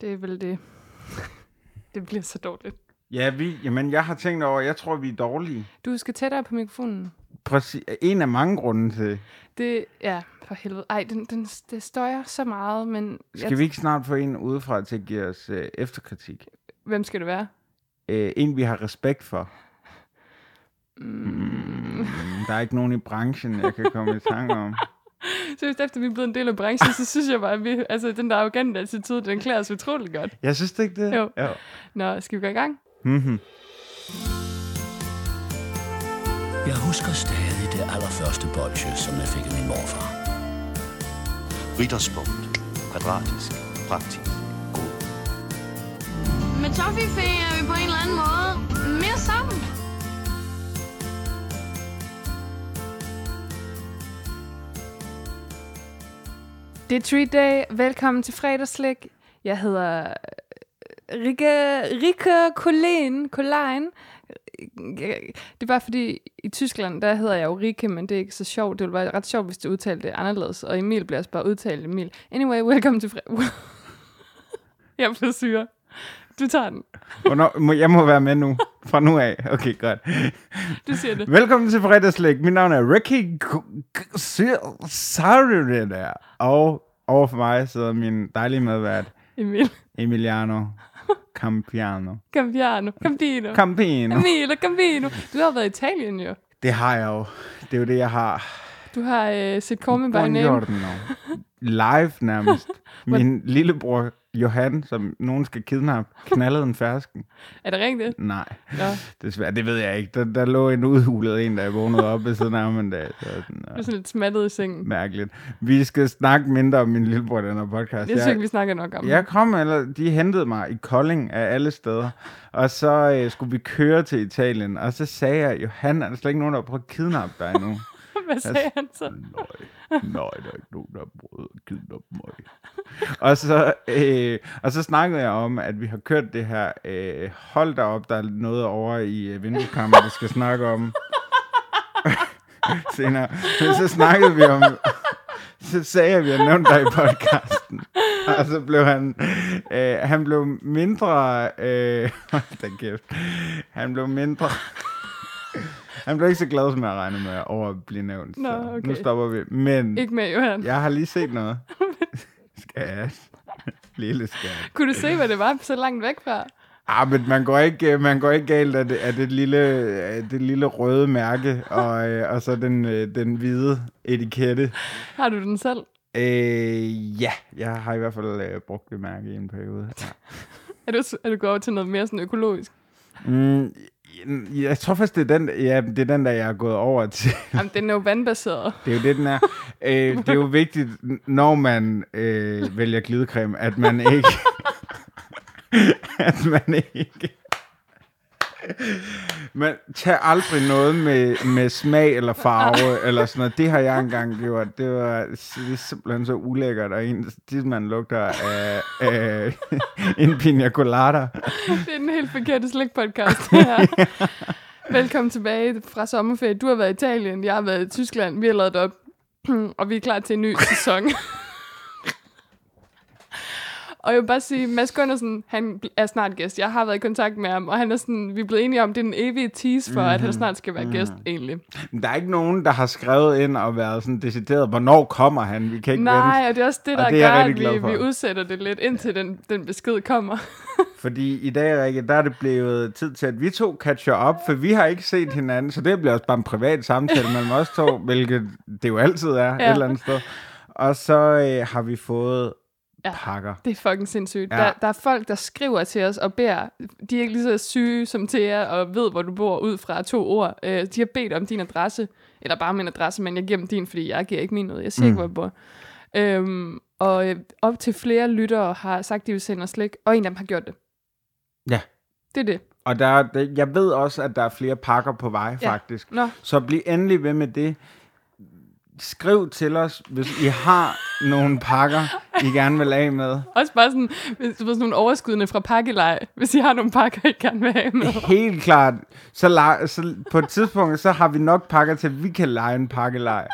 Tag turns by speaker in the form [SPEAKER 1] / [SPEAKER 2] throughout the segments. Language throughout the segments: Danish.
[SPEAKER 1] Det er vel det. det bliver så dårligt.
[SPEAKER 2] Ja, vi, jamen, jeg har tænkt over, jeg tror, vi er dårlige.
[SPEAKER 1] Du skal tættere på mikrofonen.
[SPEAKER 2] Præcis, en af mange grunde til.
[SPEAKER 1] Det, ja, for helvede. Ej, den, den, det støjer så meget, men...
[SPEAKER 2] Skal vi ikke snart få en udefra til at give os øh, efterkritik?
[SPEAKER 1] Hvem skal det være?
[SPEAKER 2] Øh, en, vi har respekt for.
[SPEAKER 1] Mm.
[SPEAKER 2] Mm, der er ikke nogen i branchen, jeg kan komme i tanke om.
[SPEAKER 1] Seriøst, efter vi er blevet en del af branchen, så synes jeg bare, at vi, altså, den der arrogante attitude, den klæder os utrolig godt.
[SPEAKER 2] Jeg synes det ikke det?
[SPEAKER 1] Jo.
[SPEAKER 2] jo.
[SPEAKER 1] Nå, skal vi gå i gang?
[SPEAKER 2] Mm-hmm.
[SPEAKER 3] Jeg husker stadig det allerførste bolsje, som jeg fik af min morfar.
[SPEAKER 4] Ritterspunkt. Kvadratisk. Praktisk. God.
[SPEAKER 5] Med Toffifee er vi på en eller anden måde mere sammen.
[SPEAKER 1] Det er Treat Day. Velkommen til fredagslik. Jeg hedder øh, Rika, Rika Kolein. Kolein. Det er bare fordi, i Tyskland, der hedder jeg jo Rike, men det er ikke så sjovt. Det ville være ret sjovt, hvis du udtalte det anderledes. Og Emil bliver også bare udtalt Emil. Anyway, welcome til fredag. jeg blev syre. Du tager den.
[SPEAKER 2] Hvornår, må, jeg må være med nu. Fra nu af. Okay, godt.
[SPEAKER 1] Du siger det.
[SPEAKER 2] Velkommen til fredagslæg. Mit navn er Ricky Sarri der. Og overfor mig sidder min dejlige medvært,
[SPEAKER 1] Emil.
[SPEAKER 2] Emiliano Campiano.
[SPEAKER 1] Campiano. Campino.
[SPEAKER 2] Campino.
[SPEAKER 1] Emil og Campino. Du har været i Italien jo.
[SPEAKER 2] Det har jeg jo. Det er jo det, jeg har.
[SPEAKER 1] Du har øh, set Call Me By Name.
[SPEAKER 2] Buongiorno. Live nærmest. Min lillebror Johan, som nogen skal kidnappe, knaldede en fersken.
[SPEAKER 1] Er det rigtigt?
[SPEAKER 2] Nej,
[SPEAKER 1] Nå.
[SPEAKER 2] desværre, det ved jeg ikke. Der, der lå en udhulet en, der vågnede op ved siden af ham en dag. Så sådan,
[SPEAKER 1] Du er
[SPEAKER 2] øh,
[SPEAKER 1] sådan lidt smattet i sengen.
[SPEAKER 2] mærkeligt. Vi skal snakke mindre om min lillebror i den her podcast.
[SPEAKER 1] Jeg synes ikke,
[SPEAKER 2] Jeg,
[SPEAKER 1] vi snakker nok om
[SPEAKER 2] jeg kom, eller de hentede mig i Kolding af alle steder, og så øh, skulle vi køre til Italien, og så sagde jeg, Johan, er der slet ikke nogen, der prøver at kidnappe dig nu?
[SPEAKER 1] det. Hvad sagde han så?
[SPEAKER 2] Nej, nej, der er ikke nogen, der har prøvet at kidnappe mig. og, så, øh, og så snakkede jeg om, at vi har kørt det her, øh, hold da op, der er noget over i øh, vinduekampen, vi skal snakke om senere. Men så snakkede vi om, så sagde jeg, at vi har nævnt dig i podcasten. Og så blev han, øh, han blev mindre, øh, hold da kæft, han blev mindre, han blev ikke så glad, som jeg regnede med, over at blive nævnt.
[SPEAKER 1] Nå,
[SPEAKER 2] så
[SPEAKER 1] okay.
[SPEAKER 2] Nu stopper vi. Men
[SPEAKER 1] Ikke med Johan. Ja.
[SPEAKER 2] jeg har lige set noget. Skat. Lille skat.
[SPEAKER 1] Kunne du se, hvad det var så langt væk fra?
[SPEAKER 2] Ah, men man går ikke, øh, man går ikke galt af det, af det, lille, af det lille røde mærke, og, øh, og så den, øh, den hvide etikette.
[SPEAKER 1] Har du den selv?
[SPEAKER 2] Øh, ja, jeg har i hvert fald øh, brugt det mærke i en periode. Ja.
[SPEAKER 1] Er du, er du gået over til noget mere sådan økologisk?
[SPEAKER 2] Mm, jeg tror faktisk, det er den, ja, det er den der jeg er gået over til.
[SPEAKER 1] Jamen, den er jo vandbaseret.
[SPEAKER 2] Det er jo det, den er. Øh, det er jo vigtigt, n- når man øh, vælger glidecreme, at man ikke... at man ikke... Man tager aldrig noget med, med smag eller farve eller sådan noget. Det har jeg engang gjort. Det var det er simpelthen så ulækkert, og en, det, man lugter af, af en pina colada.
[SPEAKER 1] Det er den helt forkerte slikpodcast, det her. Velkommen tilbage fra sommerferie. Du har været i Italien, jeg har været i Tyskland, vi har lavet det op, og vi er klar til en ny sæson. og jeg vil bare sige, Mads Gundersen, han er snart gæst. Jeg har været i kontakt med ham, og han er sådan, vi er blevet enige om, det er den evige tease for, mm-hmm. at han snart skal være gæst, egentlig.
[SPEAKER 2] Der er ikke nogen, der har skrevet ind og været sådan decideret, hvornår kommer han? Vi kan ikke vente.
[SPEAKER 1] Nej, og det er også det,
[SPEAKER 2] Og
[SPEAKER 1] der
[SPEAKER 2] det er jeg
[SPEAKER 1] gør,
[SPEAKER 2] rigtig glad
[SPEAKER 1] at
[SPEAKER 2] for.
[SPEAKER 1] vi, vi udsætter det lidt, indtil den, den besked kommer.
[SPEAKER 2] Fordi i dag, Rikke, der er det blevet tid til, at vi to catcher op, for vi har ikke set hinanden, så det bliver også bare en privat samtale mellem os to, hvilket det jo altid er ja. et eller andet sted. Og så øh, har vi fået ja.
[SPEAKER 1] Ja.
[SPEAKER 2] pakker.
[SPEAKER 1] Det er fucking sindssygt.
[SPEAKER 2] Ja.
[SPEAKER 1] Ja. Der, der er folk, der skriver til os og beder. De er ikke lige så syge som til jer og ved, hvor du bor ud fra to ord. Øh, de har bedt om din adresse. Eller bare min adresse, men jeg giver dem din, fordi jeg giver ikke min ud. Jeg siger mm. ikke, hvor jeg bor. Øhm, og øh, op til flere lyttere har sagt, de vil sende os slik. Og en af dem har gjort det.
[SPEAKER 2] Ja.
[SPEAKER 1] Det er det.
[SPEAKER 2] Og der, er- der, jeg ved også, at der er flere pakker på vej, ja.
[SPEAKER 1] Ja.
[SPEAKER 2] faktisk.
[SPEAKER 1] Nå,
[SPEAKER 2] Så bliv endelig ved med det. Skriv til os, hvis I har nogle pakker, I gerne vil af med.
[SPEAKER 1] også bare sådan, hvis du ved, sådan nogle overskydende fra pakkelej, hvis I har nogle pakker, I gerne vil have med.
[SPEAKER 2] Helt klart. Så, la- så på et tidspunkt, så har vi nok pakker til, at vi kan lege en pakkelej.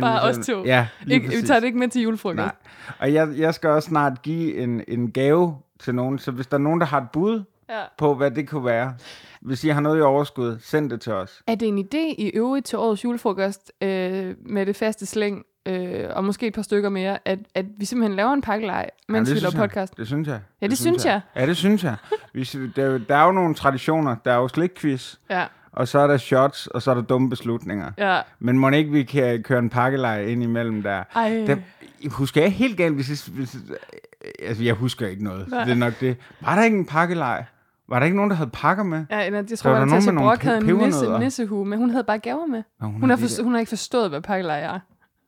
[SPEAKER 1] Bare os to.
[SPEAKER 2] Ja, lige
[SPEAKER 1] Ikke, vi
[SPEAKER 2] præcis.
[SPEAKER 1] tager det ikke med til julefrokost.
[SPEAKER 2] Nej. Og jeg, jeg skal også snart give en, en gave til nogen. Så hvis der er nogen, der har et bud
[SPEAKER 1] Ja.
[SPEAKER 2] på, hvad det kunne være, hvis I har noget i overskud, send det til os.
[SPEAKER 1] Er det en idé i øvrigt til årets julefrokost øh, med det faste slæng, øh, og måske et par stykker mere, at, at vi simpelthen laver en pakkelej, mens
[SPEAKER 2] det
[SPEAKER 1] vi
[SPEAKER 2] synes
[SPEAKER 1] laver
[SPEAKER 2] jeg.
[SPEAKER 1] podcast?
[SPEAKER 2] Det synes jeg.
[SPEAKER 1] Ja, det synes
[SPEAKER 2] Ja, det synes jeg. Hvis, der, er jo- der er jo nogle traditioner. Der er jo slikquiz,
[SPEAKER 1] Ja,
[SPEAKER 2] og så er der shots, og så er der dumme beslutninger.
[SPEAKER 1] ja.
[SPEAKER 2] Men må ikke, vi kan køre en pakkelej ind imellem der?
[SPEAKER 1] Ej.
[SPEAKER 2] der husker jeg helt galt, hvis, jeg- hvis øh, altså, jeg husker ikke noget. Nej. Det er nok det. Var der ikke en pakkelej? Var der ikke nogen, der havde pakker med?
[SPEAKER 1] Ja, eller, jeg
[SPEAKER 2] var
[SPEAKER 1] tror,
[SPEAKER 2] der
[SPEAKER 1] at
[SPEAKER 2] nogen
[SPEAKER 1] Natasha
[SPEAKER 2] med nogle
[SPEAKER 1] Brock havde en nisse,
[SPEAKER 2] pebernødder.
[SPEAKER 1] nissehue, men hun havde bare gaver med.
[SPEAKER 2] Nå, hun
[SPEAKER 1] hun, har
[SPEAKER 2] havde
[SPEAKER 1] for, hun har ikke forstået, hvad pakkelej er.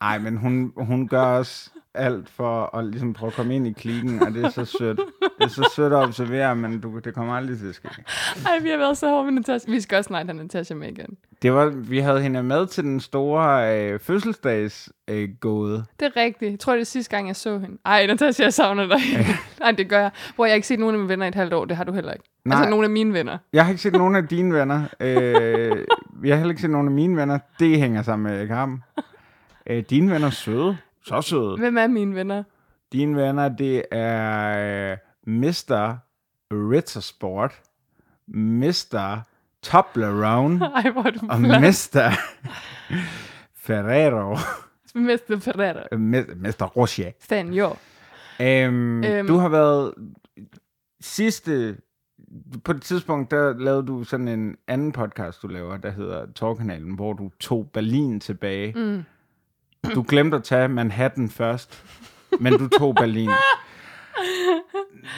[SPEAKER 2] Nej, men hun, hun gør også alt for at ligesom prøve at komme ind i klikken, og det er så sødt. Det er så sødt at observere, men du, det kommer aldrig til at ske.
[SPEAKER 1] Ej, vi har været så hårde med Natasha. Vi skal også snart have Natasha med igen.
[SPEAKER 2] Det var, vi havde hende med til den store øh, fødselsdags øh, gåde.
[SPEAKER 1] Det er rigtigt. Jeg tror, det er sidste gang, jeg så hende. Ej, Natasha, jeg savner dig. Nej, det gør jeg. Hvor jeg har ikke set nogen af mine venner i et halvt år. Det har du heller ikke. Nej.
[SPEAKER 2] Nej.
[SPEAKER 1] Altså, nogen af mine venner.
[SPEAKER 2] Jeg har ikke set nogen af dine venner. Øh, jeg har heller ikke set nogen af mine venner. Det hænger sammen med kampen. Øh, dine venner er søde. Så søde.
[SPEAKER 1] Hvem er mine venner?
[SPEAKER 2] Dine venner, det er øh, Mr. Rittersport, Mr. Toblerone
[SPEAKER 1] Ej, hvor er du
[SPEAKER 2] og
[SPEAKER 1] flot.
[SPEAKER 2] Mr. Ferrero.
[SPEAKER 1] Mester Ferrero.
[SPEAKER 2] Me- Mr. Rocher.
[SPEAKER 1] Fan, jo.
[SPEAKER 2] Øhm,
[SPEAKER 1] Øhm.
[SPEAKER 2] Du har været sidste... På et tidspunkt, der lavede du sådan en anden podcast, du laver, der hedder Torkanalen, hvor du tog Berlin tilbage. Mm. Du glemte at tage Manhattan først, men du tog Berlin.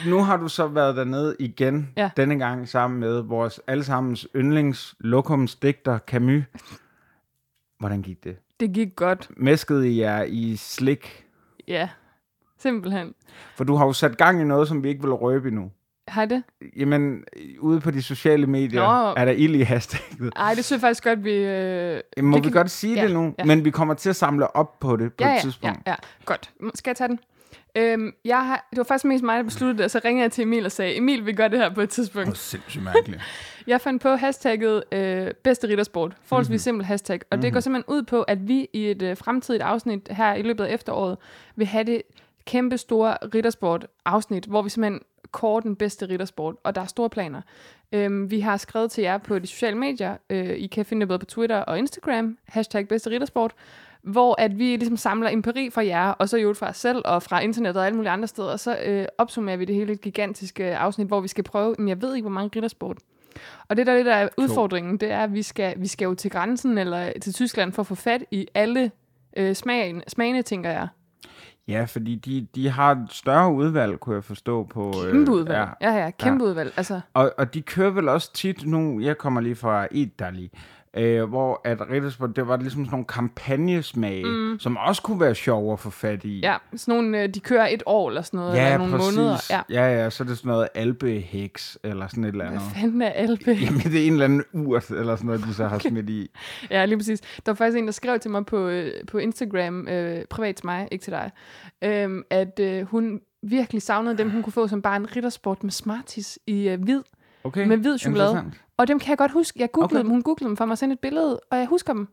[SPEAKER 2] Nu har du så været dernede igen,
[SPEAKER 1] Ja.
[SPEAKER 2] denne gang sammen med vores allesammens yndlings lokumsdigter Camus. Hvordan gik det?
[SPEAKER 1] Det gik godt.
[SPEAKER 2] Mæskede I jer i slik?
[SPEAKER 1] Ja. Simpelthen.
[SPEAKER 2] For du har jo sat gang i noget, som vi ikke vil røbe endnu.
[SPEAKER 1] Har I det?
[SPEAKER 2] Jamen, ude på de sociale medier
[SPEAKER 1] Nå.
[SPEAKER 2] er der ild i hashtagget.
[SPEAKER 1] Ej, det synes jeg faktisk godt, vi... Øh...
[SPEAKER 2] Må
[SPEAKER 1] det
[SPEAKER 2] vi
[SPEAKER 1] kan-
[SPEAKER 2] godt sige
[SPEAKER 1] ja,
[SPEAKER 2] det nu?
[SPEAKER 1] ja.
[SPEAKER 2] Men vi kommer til at samle op på det på
[SPEAKER 1] ja,
[SPEAKER 2] et
[SPEAKER 1] ja,
[SPEAKER 2] tidspunkt.
[SPEAKER 1] Ja, ja, godt. M- Skal jeg tage den? Øhm, jeg har, det var faktisk mest mig, der besluttede det, og så ringede jeg til Emil og sagde, Emil, vi gør det her på et tidspunkt.
[SPEAKER 2] sindssygt mærkeligt.
[SPEAKER 1] Jeg fandt på hashtagget øh, bedste riddersport. Forholdsvis mm-hmm. simpelt hashtag. Og mm-hmm. det går simpelthen ud på, at vi i et øh, fremtidigt afsnit her i løbet af efteråret, vil have det kæmpe store riddersport afsnit, hvor vi simpelthen kårer den bedste riddersport, og der er store planer. Øhm, vi har skrevet til jer på de sociale medier. Øh, I kan finde det både på Twitter og Instagram. Hashtag bedste riddersport hvor at vi ligesom samler empiri fra jer, og så i øvrigt fra os selv, og fra internettet og alle mulige andre steder, og så øh, opsummerer vi det hele i et gigantiske afsnit, hvor vi skal prøve, men jeg ved ikke, hvor mange riddersport og det, der lidt er udfordringen, det er, at vi skal, vi skal jo til grænsen eller til Tyskland for at få fat i alle øh, smagen, smagene, tænker jeg.
[SPEAKER 2] Ja, fordi de, de har et større udvalg, kunne jeg forstå på... øh,
[SPEAKER 1] Kæmpe udvalg.
[SPEAKER 2] Ja.
[SPEAKER 1] Ja, ja, kæmpe udvalg. Altså,
[SPEAKER 2] Og, og de kører vel også tit nu... Jeg kommer lige fra Italy. Øh, hvor at Rittersport, det var ligesom sådan nogle kampagnesmage, mm. som også kunne være sjove at få fat i.
[SPEAKER 1] ja, sådan nogle, øh, de kører et år eller sådan noget,
[SPEAKER 2] ja
[SPEAKER 1] eller nogle
[SPEAKER 2] præcis.
[SPEAKER 1] måneder. Ja,
[SPEAKER 2] Ja. ja, ja, så er det sådan noget alpeheks, eller sådan et eller andet.
[SPEAKER 1] Hvad fanden er Alpe?
[SPEAKER 2] Jamen, det er en eller anden urt, eller sådan noget, de så har smidt i.
[SPEAKER 1] Ja, lige præcis. Der var faktisk en, der skrev til mig på, øh, på Instagram, øh, privat til mig, ikke til dig, øh, at øh, hun virkelig savnede dem, hun kunne få som barn, riddersport med Smarties i øh, hvid.
[SPEAKER 2] Okay,
[SPEAKER 1] med hvid chokolade.
[SPEAKER 2] interessant.
[SPEAKER 1] Og dem kan jeg godt huske. Jeg googlede
[SPEAKER 2] Okay.
[SPEAKER 1] okay. dem. Hun googlede dem for mig og sendte et billede, og jeg husker dem.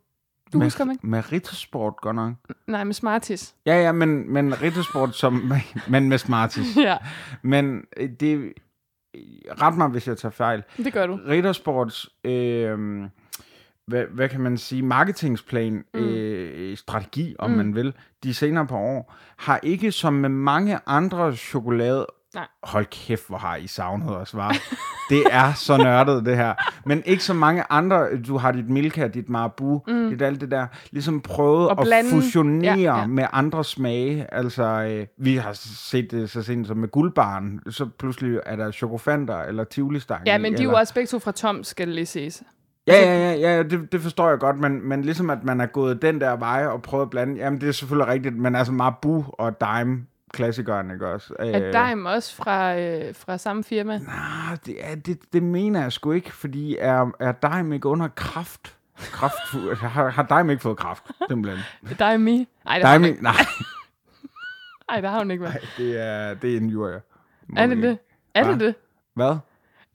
[SPEAKER 1] Du
[SPEAKER 2] med,
[SPEAKER 1] husker dem ikke?
[SPEAKER 2] Med rittersport, godt nok.
[SPEAKER 1] Nej, med Smarties.
[SPEAKER 2] Ja, ja, men, men rittersport som... men med smarties.
[SPEAKER 1] Ja,
[SPEAKER 2] Men øh, det... Ret mig, hvis jeg tager fejl.
[SPEAKER 1] det gør du.
[SPEAKER 2] Rittersports... Øh, hvad, hvad kan man sige, marketingsplan, mm. øh, strategi, om mm. man vil, de senere par år, har ikke som med mange andre chokolade...
[SPEAKER 1] Nej.
[SPEAKER 2] Hold kæft, hvor har I savnet os, var. Det er så nørdet, det her. Men ikke så mange andre, du har dit Milka, dit Marabu, mm. dit alt det der, ligesom prøvet
[SPEAKER 1] Og
[SPEAKER 2] at
[SPEAKER 1] blande.
[SPEAKER 2] fusionere
[SPEAKER 1] Ja, ja.
[SPEAKER 2] med andre smage. Altså, øh, vi har set det så sent som med guldbaren, så pludselig er der chokofanter eller tivolistange.
[SPEAKER 1] Ja, men de er jo
[SPEAKER 2] eller-
[SPEAKER 1] også begge to fra Tom, skal det lige ses.
[SPEAKER 2] Ja,
[SPEAKER 1] Altså-
[SPEAKER 2] ja, ja, ja det, det forstår jeg godt, men, men ligesom at man er gået den der vej og prøvet at blande, jamen det er selvfølgelig rigtigt, men altså Marabu og Dime, klassikeren, ikke også? Øh,
[SPEAKER 1] Er Dime også fra, øh, fra samme firma?
[SPEAKER 2] Ah, det, er, det, det mener jeg sgu ikke, fordi er, er Dime ikke under kraft? kraft har, har Dime ikke fået kraft, simpelthen?
[SPEAKER 1] Dime Ej, der har hun
[SPEAKER 2] Dime,
[SPEAKER 1] ikke-
[SPEAKER 2] nej,
[SPEAKER 1] Ej, der har hun ikke været.
[SPEAKER 2] det er, det er en jurier.
[SPEAKER 1] Er det det? Er det
[SPEAKER 2] Hva?
[SPEAKER 1] det?
[SPEAKER 2] Hvad?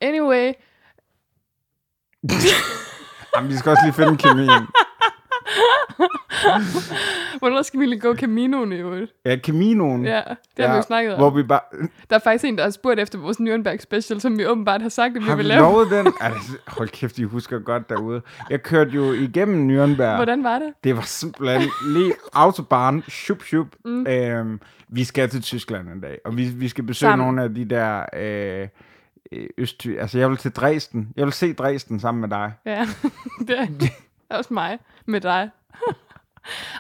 [SPEAKER 1] Anyway,
[SPEAKER 2] Jamen, vi skal også lige finde kemien.
[SPEAKER 1] Hvornår skal vi egentlig gå Caminoen i øvrigt?
[SPEAKER 2] Ja, Caminoen.
[SPEAKER 1] Ja, det har vi jo snakket om.
[SPEAKER 2] Mm. Hvor vi bare...
[SPEAKER 1] Der er faktisk en, der har spurgt efter vores Nürnberg special, som vi åbenbart har sagt, at vi
[SPEAKER 2] Har vi
[SPEAKER 1] vil lave.
[SPEAKER 2] lovet den? Altså, hold kæft, I husker godt derude. Jeg kørte jo igennem Nürnberg.
[SPEAKER 1] Hvordan var det?
[SPEAKER 2] Det var simpelthen lige autobahn, shup, shup. Mm. Øhm, vi skal til Tyskland en dag, og vi, vi skal besøge
[SPEAKER 1] Sammen.
[SPEAKER 2] Sammen. nogle af de der øh, øh, østty... Altså, jeg vil til Dresden. Jeg vil se Dresden sammen med dig.
[SPEAKER 1] Ja, det er, det er også mig med dig.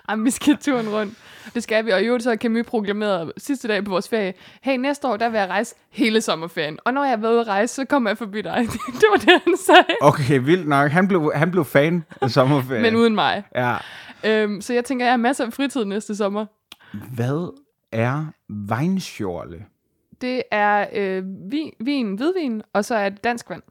[SPEAKER 1] Jamen, vi skal turen rundt. Det skal vi, og i øvrigt så har Camus proklameret sidste dag på vores ferie, hey, næste år, der vil jeg rejse hele sommerferien. Og når jeg har været ude at rejse, så kommer jeg forbi dig. det var det, han sagde.
[SPEAKER 2] Okay, vildt nok. Han blev, han blev fan af sommerferien.
[SPEAKER 1] Men uden mig.
[SPEAKER 2] Ja.
[SPEAKER 1] Øhm, så jeg tænker, jeg har masser af fritid næste sommer.
[SPEAKER 2] Hvad er vinsjorle?
[SPEAKER 1] Det er øh, vin, vin, hvidvin, og så er det dansk vand.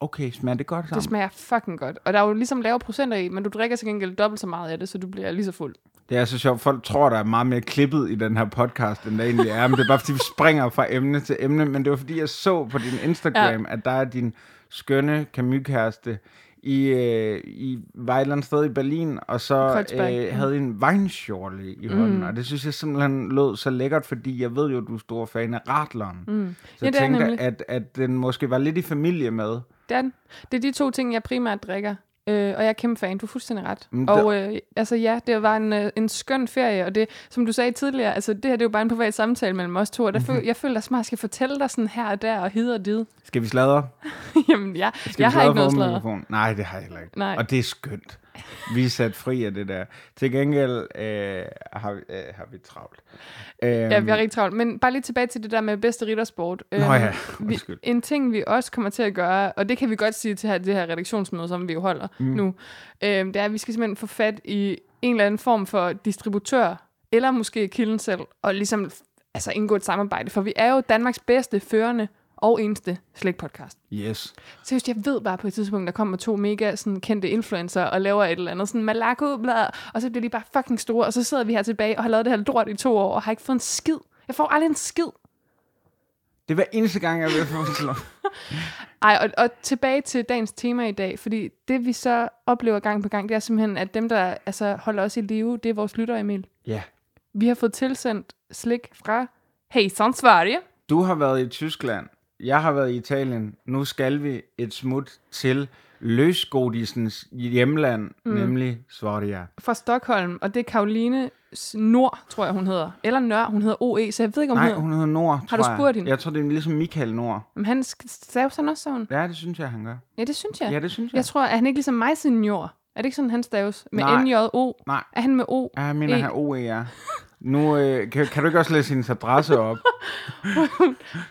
[SPEAKER 2] Okay, smager det godt sammen?
[SPEAKER 1] Det smager fucking godt. Og der er jo ligesom lavere procenter i, men du drikker til gengæld dobbelt så meget af det, så du bliver lige så fuld.
[SPEAKER 2] Det er så sjovt. Folk tror, der er meget mere klippet i den her podcast, end der egentlig er. Men det er bare, fordi vi springer fra emne til emne. Men det var, fordi jeg så på din Instagram, ja. at der er din skønne kamykæreste i, øh, i var et eller andet sted i Berlin, og så
[SPEAKER 1] Kreuzberg.
[SPEAKER 2] øh, havde en weinschorle i hånden, mm. og det synes jeg simpelthen lød så lækkert, fordi jeg ved jo, at du er stor fan af Radleren. Mm. Så
[SPEAKER 1] Ja,
[SPEAKER 2] jeg
[SPEAKER 1] det er
[SPEAKER 2] tænkte,
[SPEAKER 1] nemlig.
[SPEAKER 2] at, at den måske var lidt i familie med.
[SPEAKER 1] Dan, det er de to ting, jeg primært drikker. Øh, og jeg er kæmpe fan, du er fuldstændig ret.
[SPEAKER 2] Men
[SPEAKER 1] og øh, altså ja, det var en, øh, en skøn ferie, og det, som du sagde tidligere, altså det her det er jo bare en privat samtale mellem os to, og
[SPEAKER 2] Mhm.
[SPEAKER 1] der føl, jeg føler, at jeg skal fortælle dig sådan her og der, og hid og did.
[SPEAKER 2] Skal vi sladre?
[SPEAKER 1] Jamen, jeg,
[SPEAKER 2] Skal
[SPEAKER 1] jeg
[SPEAKER 2] vi
[SPEAKER 1] har
[SPEAKER 2] sladre
[SPEAKER 1] ikke noget
[SPEAKER 2] for åben
[SPEAKER 1] sladder.
[SPEAKER 2] mikrofon? Nej, det har jeg heller ikke.
[SPEAKER 1] Nej.
[SPEAKER 2] Og det er skønt. Vi er sat fri af det der. Til gengæld øh, har, vi, øh, har vi travlt. Øhm,
[SPEAKER 1] Ja, vi har rigtig travlt. Men bare lige tilbage til det der med bedste riddersport. Øhm, Nå
[SPEAKER 2] ja,
[SPEAKER 1] vi,
[SPEAKER 2] undskyld.
[SPEAKER 1] en ting, vi også kommer til at gøre, og det kan vi godt sige til her- det her redaktionsmøde, som vi jo holder mm. nu, øhm, det er, at vi skal simpelthen få fat i en eller anden form for distributør, eller måske kilden selv, og ligesom altså, indgå et samarbejde. For vi er jo Danmarks bedste, førende og eneste slægtpodcast.
[SPEAKER 2] Yes.
[SPEAKER 1] Seriøst, jeg ved bare på et tidspunkt, der kommer to mega sådan, kendte influencer og laver et eller andet sådan malako bla, og så bliver de bare fucking store, og så sidder vi her tilbage og har lavet det her lort i to år, og har ikke fået en skid. Jeg får aldrig en skid.
[SPEAKER 2] Det er hver eneste gang, jeg vil få slå.
[SPEAKER 1] Ej, og, og tilbage til dagens tema i dag, fordi det vi så oplever gang på gang, det er simpelthen, at dem, der altså, holder os i live, det er vores lytter, Emil.
[SPEAKER 2] Ja.
[SPEAKER 1] Vi har fået tilsendt slik fra Hey, sådan Sverige.
[SPEAKER 2] Du har været i Tyskland. Jeg har været i Italien. Nu skal vi et smut til løsgodisens hjemland, mm. nemlig Sverige.
[SPEAKER 1] Fra Stockholm, og det er Karoline S- Nord, tror jeg, hun hedder. Eller Nør, hun hedder OE, så jeg ved ikke, om
[SPEAKER 2] Nej,
[SPEAKER 1] hedder...
[SPEAKER 2] hun hedder Nord,
[SPEAKER 1] Har du
[SPEAKER 2] tror jeg.
[SPEAKER 1] spurgt hende?
[SPEAKER 2] Jeg tror, det er ligesom Michael Nord.
[SPEAKER 1] Men han sk- staves han også sådan?
[SPEAKER 2] Ja, det synes jeg, han gør.
[SPEAKER 1] Ja, det synes jeg.
[SPEAKER 2] Ja, det synes jeg.
[SPEAKER 1] Jeg tror, at han ikke ligesom mig senior. Er det ikke sådan, han staves? Med
[SPEAKER 2] Nej.
[SPEAKER 1] N-J-O?
[SPEAKER 2] Nej.
[SPEAKER 1] Er han med O?
[SPEAKER 2] Ja, Ah, jeg mener,
[SPEAKER 1] E?
[SPEAKER 2] han er OER. Nu øh, kan, kan du ikke også læse hendes adresse op?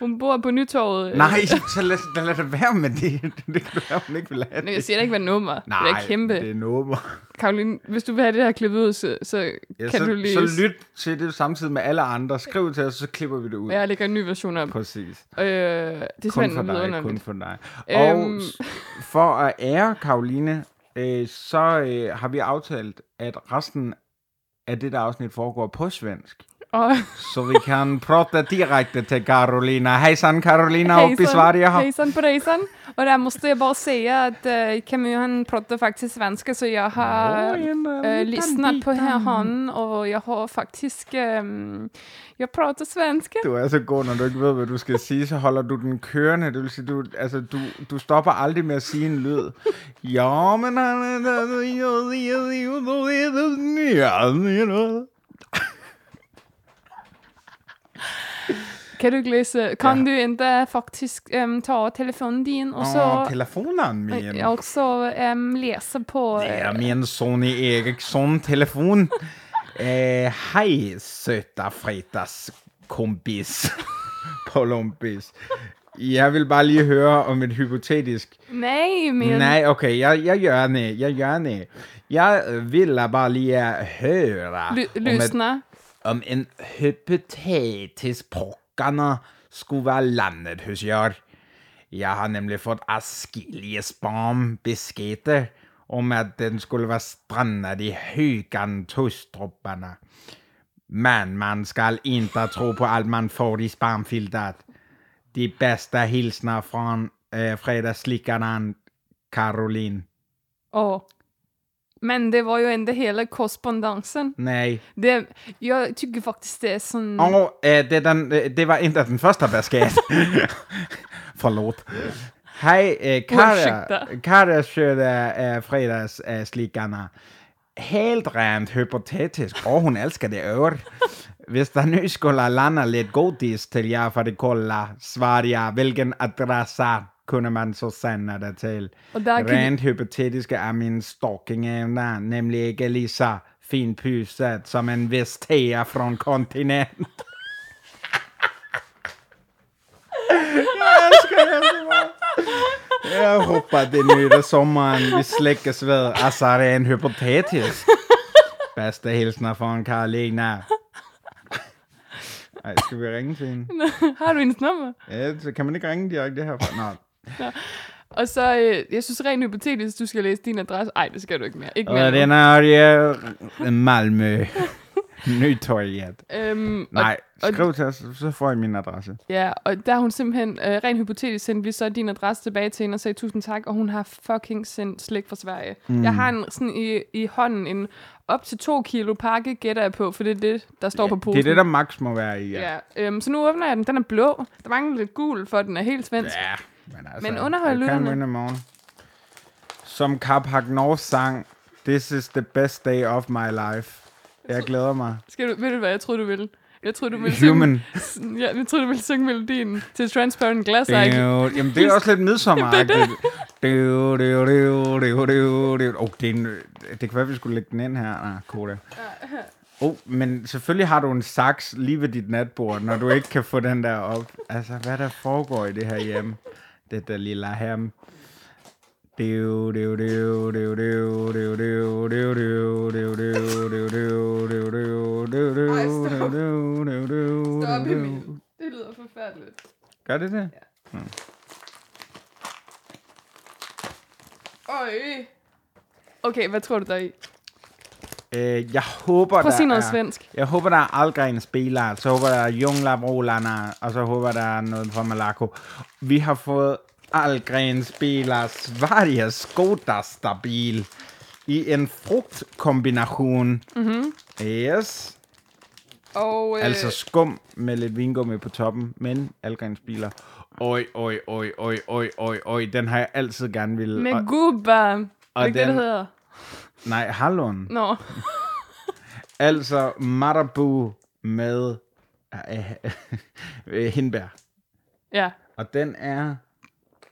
[SPEAKER 1] Hun bor på Nytorvet. øh,
[SPEAKER 2] Nej, så lad, lad, lad det være med det. Det kan være, hun ikke vil have
[SPEAKER 1] Men jeg
[SPEAKER 2] det.
[SPEAKER 1] siger da ikke, hvad nummer. det
[SPEAKER 2] Nej,
[SPEAKER 1] er kæmpe.
[SPEAKER 2] det er en åber.
[SPEAKER 1] Karoline, hvis du vil have det her klippet ud, så, så
[SPEAKER 2] Ja,
[SPEAKER 1] kan
[SPEAKER 2] så,
[SPEAKER 1] du lige...
[SPEAKER 2] så lyt til det samtidig med alle andre. Skriv til os, så klipper vi det ud.
[SPEAKER 1] Ja, jeg lægger en ny version op. Øh,
[SPEAKER 2] Præcis.
[SPEAKER 1] det er
[SPEAKER 2] Kun for
[SPEAKER 1] simpelthen
[SPEAKER 2] dig, kun
[SPEAKER 1] vidunderligt.
[SPEAKER 2] for dig. Og
[SPEAKER 1] Øhm.
[SPEAKER 2] s- for at ære Karoline, øh, så øh, har vi aftalt, at resten af det der afsnit foregår på svensk.
[SPEAKER 1] Og
[SPEAKER 2] Så vi kan prata direkte til Karolina. Hejsan Karolina uppe i Sverige.
[SPEAKER 1] hejsan, hejsan på rejsan. Och där måste jag bara säga att uh, Camille han pratar faktiskt svenska så jag har
[SPEAKER 2] Oj, en, en
[SPEAKER 1] eh,
[SPEAKER 2] liten
[SPEAKER 1] lyssnat på
[SPEAKER 2] biten.
[SPEAKER 1] här han och jag har faktiskt, ehm, jag pratar svenska.
[SPEAKER 2] Du er så god, når du ikke ved, hvad du skal sige, så holder du den kørende. Det vil sige, du, altså, du, du stopper aldrig med at sige en lyd. Ja, men...
[SPEAKER 1] Kan du inte läsa, kan du inte faktiskt ehm, ta telefonen din och så,
[SPEAKER 2] Åh, telefonen min.
[SPEAKER 1] ja, och så ehm, läsa på...
[SPEAKER 2] Det
[SPEAKER 1] eh,
[SPEAKER 2] er min Sony Eriksson-telefon. Eh, hej, søta fredagskompis. Polompis. Jeg vil bare lige høre om et hypotetisk
[SPEAKER 1] nej, men...
[SPEAKER 2] Nej, okej, jag, jag gör det, jag gör det. Jag vill bara lige höra
[SPEAKER 1] Ly-
[SPEAKER 2] om, ett,
[SPEAKER 1] lyssna.
[SPEAKER 2] om en hypotetisk pockarna skulle vara landet hos er. Jag har nämligen fått askiljesbarn beskedet om att den skulle vara strandad i Högan tustropparna. Men man skall inte tro på allt man får i spamfiltret. De bästa hilsnar från eh, fredagsslickaren Caroline.
[SPEAKER 1] Åh, Men det var ju ändå hela korrespondensen.
[SPEAKER 2] Nej.
[SPEAKER 1] Det, jag tycker faktiskt det är sån...
[SPEAKER 2] Och eh, det, den, eh, det var inte den första basket. Förlåt. Hej, eh, Kara,
[SPEAKER 1] Ursäkta.
[SPEAKER 2] Kara körde eh, fredagsslickarna. Helt rent hypotetiskt, och hon älskar det över. Visst det nu skulle landa lite godis till jag för att kolla, svarar jag, vilken adress kunde man så sända det till?
[SPEAKER 1] Och där kan-
[SPEAKER 2] Rent hypotetiska är min stalkingämne, nämligen Lisa finpyset som en vestea från kontinenten. Jag hoppas det nu är sommaren vi släcker ved. Alltså det är en hypotetisk. Bästa hälsningar från Karolina. Nej, ska vi ringa till hende?
[SPEAKER 1] Har du hendes nummer?
[SPEAKER 2] Ja, så kan man inte ringa direkte herfra? Nej.
[SPEAKER 1] Og så, øh, jeg synes rent hypotetisk, du skal læse din adresse. Nej, det skal du ikke mere. Ikke
[SPEAKER 2] Och
[SPEAKER 1] mere.
[SPEAKER 2] den är ju Malmö. Nytorget.
[SPEAKER 1] Øhm, og,
[SPEAKER 2] Nej,
[SPEAKER 1] og-
[SPEAKER 2] skriv till oss så får jag min adress.
[SPEAKER 1] Ja, og der har hun simpelthen, øh, rent hypotetisk, sendte vi så din adresse tilbage til hende og sagde tusind tak, og hun har fucking sendt slik fra Sverige. Mm. Jeg har en, sådan i, i hånden en op til to kilo pakke, gætter jeg på, for det er det, der står på
[SPEAKER 2] Det
[SPEAKER 1] posen.
[SPEAKER 2] är det, der max må være i. Ja,
[SPEAKER 1] Ja, øhm, så nu åbner jeg den. Den er blå. Der mangler lidt gul, for den er helt svensk.
[SPEAKER 2] ja men altså.
[SPEAKER 1] Men underhold
[SPEAKER 2] det kan
[SPEAKER 1] lytterne.
[SPEAKER 2] man i morgen. Som Carpac North sang, This is the best day of my life. Jeg glæder mig.
[SPEAKER 1] Skal du, ved du, hvad jeg troede, du ville? Jeg troede, du ville
[SPEAKER 2] Human.
[SPEAKER 1] synge... Ja, jeg troede, du ville synge melodien til Transparent Glass. Ike.
[SPEAKER 2] Dude. Jamen, det er også lidt midsommeragtigt. Du, du, du, du, du, du. Oh, det, er en, det kan være, vi skulle lægge den ind her. Nej, koda. Oh, men selvfølgelig har du en saks lige ved dit natbord, når du ikke kan få den der op. Altså, hvad der foregår i det her hjemme? Det der lille ham. Du, du, du, du, du, du, du, du, du, du, du, du, du, du, du, du, du,
[SPEAKER 1] Ej, stop.
[SPEAKER 2] du, du, du,
[SPEAKER 1] Stop,
[SPEAKER 2] du, du.
[SPEAKER 1] Emil. Det lyder forfærdeligt.
[SPEAKER 2] Gør det det?
[SPEAKER 1] Øj. Okay, hvad tror du der er i?
[SPEAKER 2] Øh, jeg håber,
[SPEAKER 1] Prøv at
[SPEAKER 2] der
[SPEAKER 1] sige noget
[SPEAKER 2] er,
[SPEAKER 1] svensk.
[SPEAKER 2] Jeg håber, der er Algrens spiller, så håber der er Jungla Brolana, og så håber der er noget fra Malaco. Vi har fået Algrens spiller Sveriges Skodastabil i en frugtkombination. Mm-hmm. Yes.
[SPEAKER 1] Og, Mhm. øh,
[SPEAKER 2] Altså skum med lidt vingummi på toppen, men Algrens biler. Oj, oj, oj, oj, oj, oj, oj, den har jeg altid gerne ville.
[SPEAKER 1] Med
[SPEAKER 2] Og,
[SPEAKER 1] guba. Og
[SPEAKER 2] og
[SPEAKER 1] ikke den... det,
[SPEAKER 2] den-
[SPEAKER 1] det hedder?
[SPEAKER 2] nej, Hallon.
[SPEAKER 1] Nå.
[SPEAKER 2] Altså Marabu med øh, øh, hindbær.
[SPEAKER 1] Ja.
[SPEAKER 2] Og den er